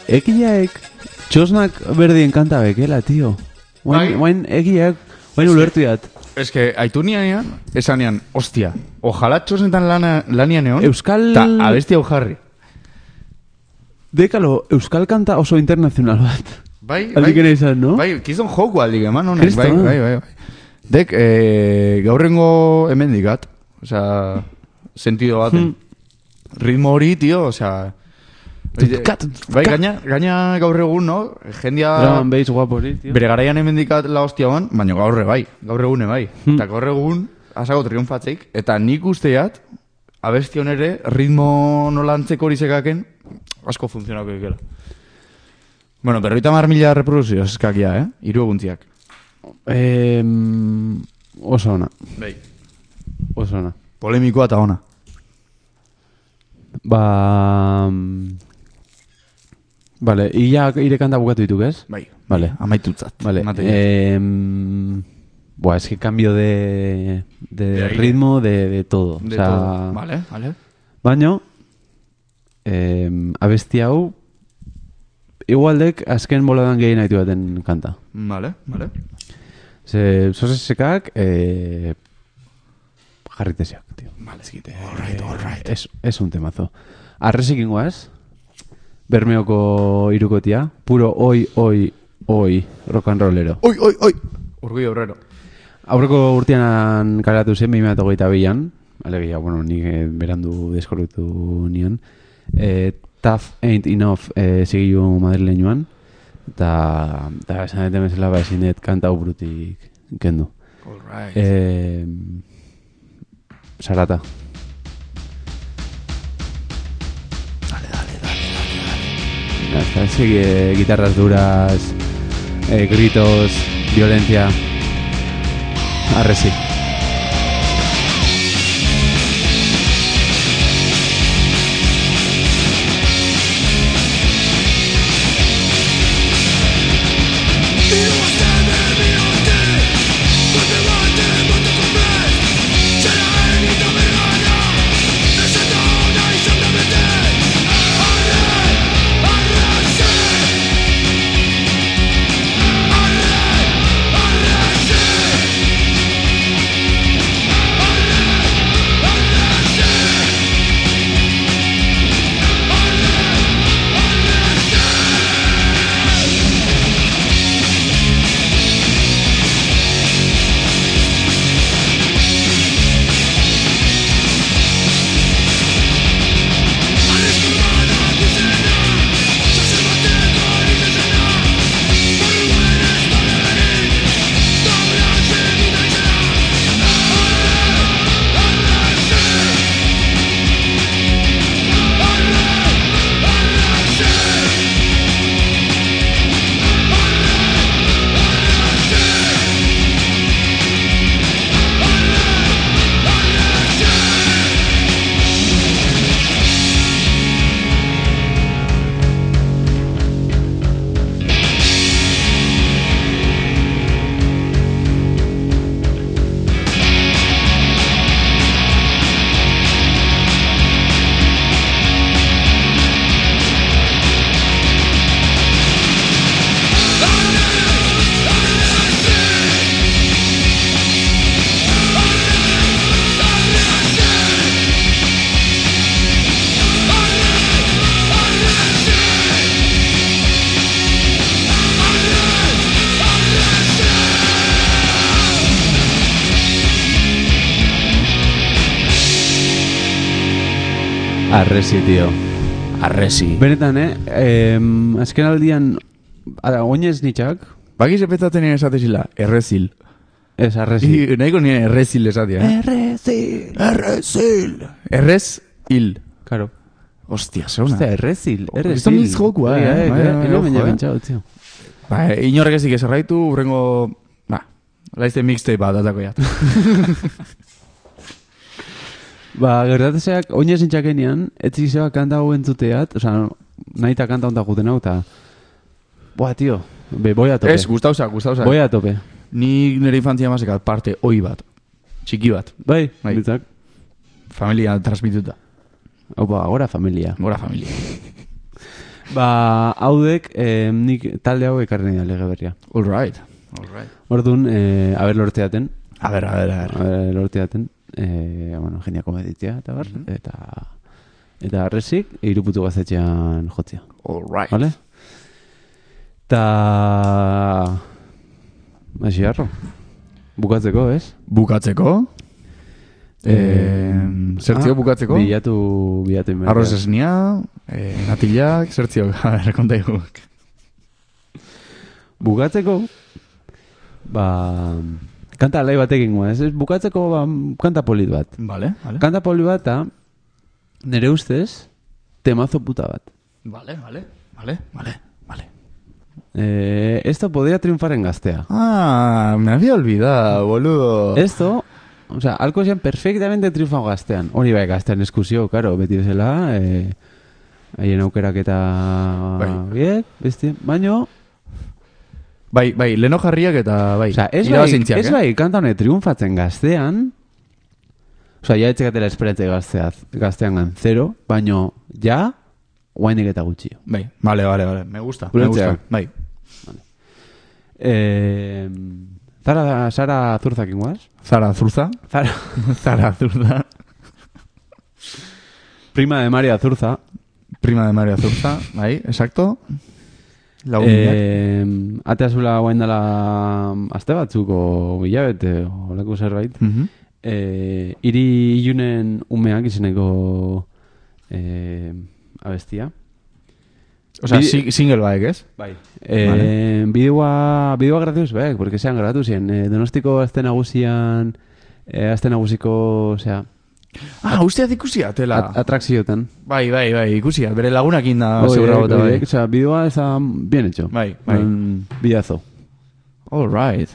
Speaker 3: egileak txosnak berdien kanta eh, bekela, tio. Oain, oain egileak, oain ulertu jat.
Speaker 2: Es que aitu nianean, esanean, ostia, ojalá txosenetan lana, lanian egon.
Speaker 3: Euskal-
Speaker 2: Ta abesti hau jarri.
Speaker 3: Dekalo, euskal kanta oso internazional bat.
Speaker 2: Bai, bai.
Speaker 3: Aldik ere izan, no?
Speaker 2: Bai, kizon joku aldik eman honek.
Speaker 3: Kristo,
Speaker 2: Bai,
Speaker 3: eh?
Speaker 2: bai, bai, bai. Dek, e, gaurrengo hemendikat. Osea, sentido baten.
Speaker 3: Hmm.
Speaker 2: Ritmo hori, tio, osea...
Speaker 3: Tutkat,
Speaker 2: Bai, gaina, gaina gaur egun, no? Jendia...
Speaker 3: Drum and bass guapo hori, tio.
Speaker 2: Bere garaian hemendikat la hostia ban, baina gaurre bai, gaur egune bai. Eta gaur egun, asago triunfatzeik, eta nik usteat, abesti hon ere, ritmo nolantzeko hori sekaken, asko funtzionako ikela. Bueno, berroita mar mila reproduzio eskakia, eh? Hiru eguntziak.
Speaker 3: Eh, oso ona,
Speaker 2: Bai.
Speaker 3: oso ona.
Speaker 2: Polemikoa eta ona.
Speaker 3: Ba... Vale, ia ire kanta bukatu dituk, ez?
Speaker 2: Bai.
Speaker 3: Vale.
Speaker 2: Amaitutzat.
Speaker 3: Vale.
Speaker 2: ematen dit.
Speaker 3: Eh, buah, es que cambio de, de,
Speaker 2: De aire.
Speaker 3: ritmo, de, de todo.
Speaker 2: De
Speaker 3: o sea,
Speaker 2: todo. Vale, vale.
Speaker 3: Baino, eh, abesti hau, igualdek azken boladan gehi nahi baten kanta.
Speaker 2: Vale, vale.
Speaker 3: Ze, sosesekak, eh, jarriteziak, tío.
Speaker 2: Vale, zikite. All right, all right.
Speaker 3: Es, es un temazo. Arresik ingoaz, Bermeoko irukotia, puro oi, oi, oi, rock and rollero.
Speaker 2: Oi, oi, oi! Urgui obrero.
Speaker 3: Aurreko urtean karatu zen, 2008 bilan, alegia, bueno, nik eh, berandu deskorritu nian, e, Tough Ain't Enough e, zigilu madrileñoan, eta eta esan dut bezala ba ezin dut kanta hau burutik kendu.
Speaker 2: All right.
Speaker 3: E, sarata. Dale, dale, dale, dale. dale. Sigue eh, guitarras duras, eh, gritos, violencia. Arresi. Arresi, tío.
Speaker 2: Arresi.
Speaker 3: Benetan, eh? Em, azken aldian, ara, oinez nitxak,
Speaker 2: Bakiz epetatzen nire esatezila, errezil.
Speaker 3: ez arresi.
Speaker 2: I, nahiko nire errezil esatia. Eh?
Speaker 3: Errezil.
Speaker 2: Errezil. Errez hil.
Speaker 3: Claro.
Speaker 2: Hostia, zeuna.
Speaker 3: Ostia, errezil,
Speaker 2: Oh,
Speaker 3: errezil.
Speaker 2: esto mi es joku, eh,
Speaker 3: Bai,
Speaker 2: eh,
Speaker 3: bai,
Speaker 2: eh,
Speaker 3: bai,
Speaker 2: ojo,
Speaker 3: baina
Speaker 2: eh.
Speaker 3: pentsatu, tío.
Speaker 2: Ba, inorrek ezik ez erraitu, urrengo... Ba, laizte mixtape bat datako jat.
Speaker 3: Ba, gertatezeak, oinez nintxakenean, etzik zeba kanta hau entzuteat, oza, nahi eta kanta honta guten hau, eta... Boa, tío, be, boi a tope.
Speaker 2: Ez, guztauza, guztauza.
Speaker 3: Boi a tope.
Speaker 2: Ni nire infantzia masekat parte oi bat. Txiki bat.
Speaker 3: Bai,
Speaker 2: Bai.
Speaker 3: bitzak.
Speaker 2: Familia transmituta.
Speaker 3: Hau, ba, agora familia.
Speaker 2: Gora familia.
Speaker 3: Ba, haudek, eh, nik talde hau ekarri nida lege berria. All right.
Speaker 2: All right.
Speaker 3: Orduan, eh, aber lorteaten.
Speaker 2: A ber, a ber, a ber.
Speaker 3: lorteaten. Eh, bueno, genia komeditia, eta bar. Eta... Eta arresik, iruputu gazetxean jotzia. All right. Vale? Ta... Asiarro. Bukatzeko, ez?
Speaker 2: Bukatzeko? Eh, zertzio bukatzeko?
Speaker 3: Ah, Bilatu, bilatu inbertia.
Speaker 2: Arroz esnia, eh, natilak, zertzio, a ber, konta iguk.
Speaker 3: Bukatzeko, ba... Kanta alai batekin guen, ez? Ez, Bukatzeko, ba, kanta polit bat.
Speaker 2: Vale, vale.
Speaker 3: Kanta polit bat, ta, nere ustez, temazo puta bat.
Speaker 2: Vale, vale, vale, vale.
Speaker 3: Eh, esto podría triunfar en Gastea.
Speaker 2: Ah, me había olvidado, boludo.
Speaker 3: Esto, o sea, algo sean perfectamente triunfado Gastean. Hori bai, Gastean eskusio, claro, beti bezala, eh, haien aukeraketa
Speaker 2: Bai.
Speaker 3: biek, beste, baino...
Speaker 2: Bai, bai, leno jarriak eta bai.
Speaker 3: Osa, ez bai,
Speaker 2: irabazintziak,
Speaker 3: ez
Speaker 2: eh?
Speaker 3: bai, kanta honek triunfatzen Gaztean, osa, ja etxekatela esperantza gazteaz, gaztean gantzero, baino, ja, guainek eta gutxi.
Speaker 2: Bai, vale, vale, vale. Me gusta, me
Speaker 3: Ulertzea.
Speaker 2: gusta. Bai.
Speaker 3: Eh, Zara, Sara Zurzakin guaz?
Speaker 2: Zara Zurza.
Speaker 3: Zara.
Speaker 2: Zara Zurza.
Speaker 3: Prima de María Zurza.
Speaker 2: Prima de María Zurza, bai, exacto. Lagunak.
Speaker 3: Eh, atea zula guain dela mm, aste batzuko hilabete, olako zerbait.
Speaker 2: Mhm.
Speaker 3: eh, iri ilunen umeak izeneko eh, abestia.
Speaker 2: Osea,
Speaker 3: bide-
Speaker 2: si- single baek, ez?
Speaker 3: Bai. Eh, Bideoa, bideoa gratius, bai, porque sean gratu ziren. Eh, donostiko azte nagusian, eh, azte nagusiko, osea,
Speaker 2: Ah, usteaz ikusi atela.
Speaker 3: at atrakziotan.
Speaker 2: Bai, bai, bai, ikusi. Bere lagunak inda
Speaker 3: Oiek,
Speaker 2: segura bota,
Speaker 3: oiek,
Speaker 2: bai.
Speaker 3: Osea, bideoa ez da bien hecho.
Speaker 2: Bai, bai.
Speaker 3: Mm, bidazo.
Speaker 2: All right.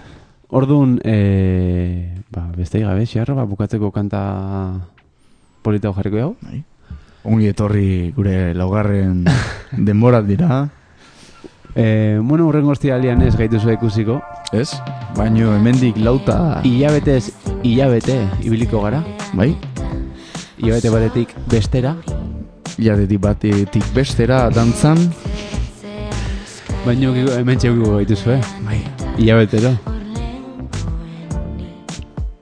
Speaker 3: Orduan, e, ba, beste gabe, xearro, ba, bukatzeko kanta polita hau jarriko hau.
Speaker 2: Bai. Ongi etorri gure laugarren denborat dira.
Speaker 3: E, bueno, urren goztia alian ez gaitu zua ikusiko.
Speaker 2: Ez? Baino hemendik lauta.
Speaker 3: Hilabetez, hilabete, ibiliko gara.
Speaker 2: Bai?
Speaker 3: Hilabete batetik bestera.
Speaker 2: Iadetik batetik bestera dantzan.
Speaker 3: Baina ukiko- hemen txegiko gaitu zue.
Speaker 2: Bai.
Speaker 3: Hilabetero.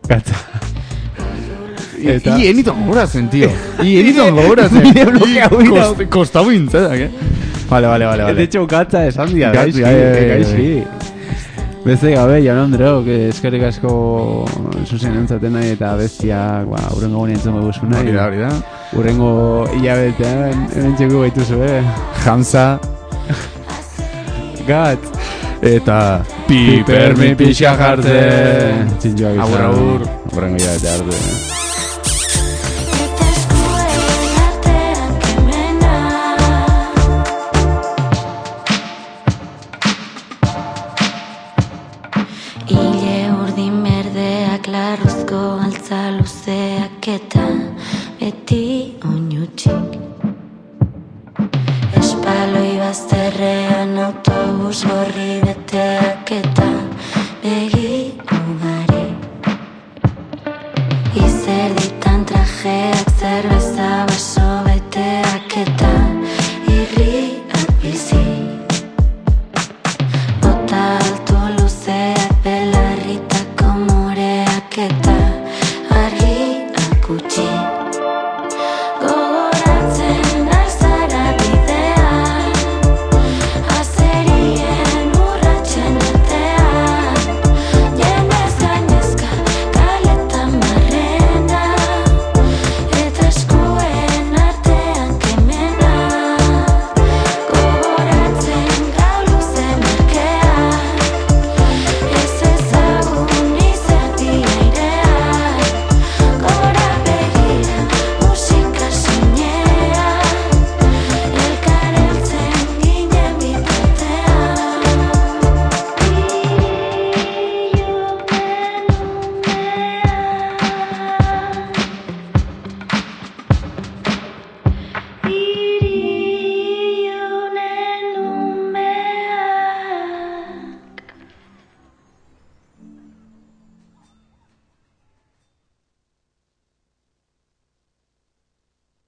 Speaker 3: Kanta. Eta-
Speaker 2: Y enito gogoratzen, tío. Y enito gogorazen.
Speaker 3: Nire blokeau inau.
Speaker 2: Kostau intzetak, eh? Vale, vale,
Speaker 3: De
Speaker 2: vale, vale.
Speaker 3: hecho, gatza esan dira,
Speaker 2: Gaizki,
Speaker 3: gaizki, eh,
Speaker 2: bai, bai,
Speaker 3: gaizki. Beste gabe, jaun Andreok, eskerrik asko zuzen entzaten nahi eta bestiak, ba, urrengo gune entzongo guzu nahi.
Speaker 2: Hori da, hori da.
Speaker 3: Urrengo hilabetean, hemen txeko gaitu zue.
Speaker 2: Hansa
Speaker 3: Gat,
Speaker 2: eta
Speaker 3: pipermi
Speaker 2: pipermi
Speaker 3: pixa
Speaker 2: pixa jartzen.
Speaker 3: Txintxoak izan.
Speaker 2: Agur, agur.
Speaker 3: Urrengo hilabete arte.
Speaker 10: Eta eskuaren artean kemena Ile urdin berdeak larruzko altza luzeak eta beti oinutxik Espaloi bazterrean autobus gorri beteak eta begi ugari Izerditan trajeak zerbeza baso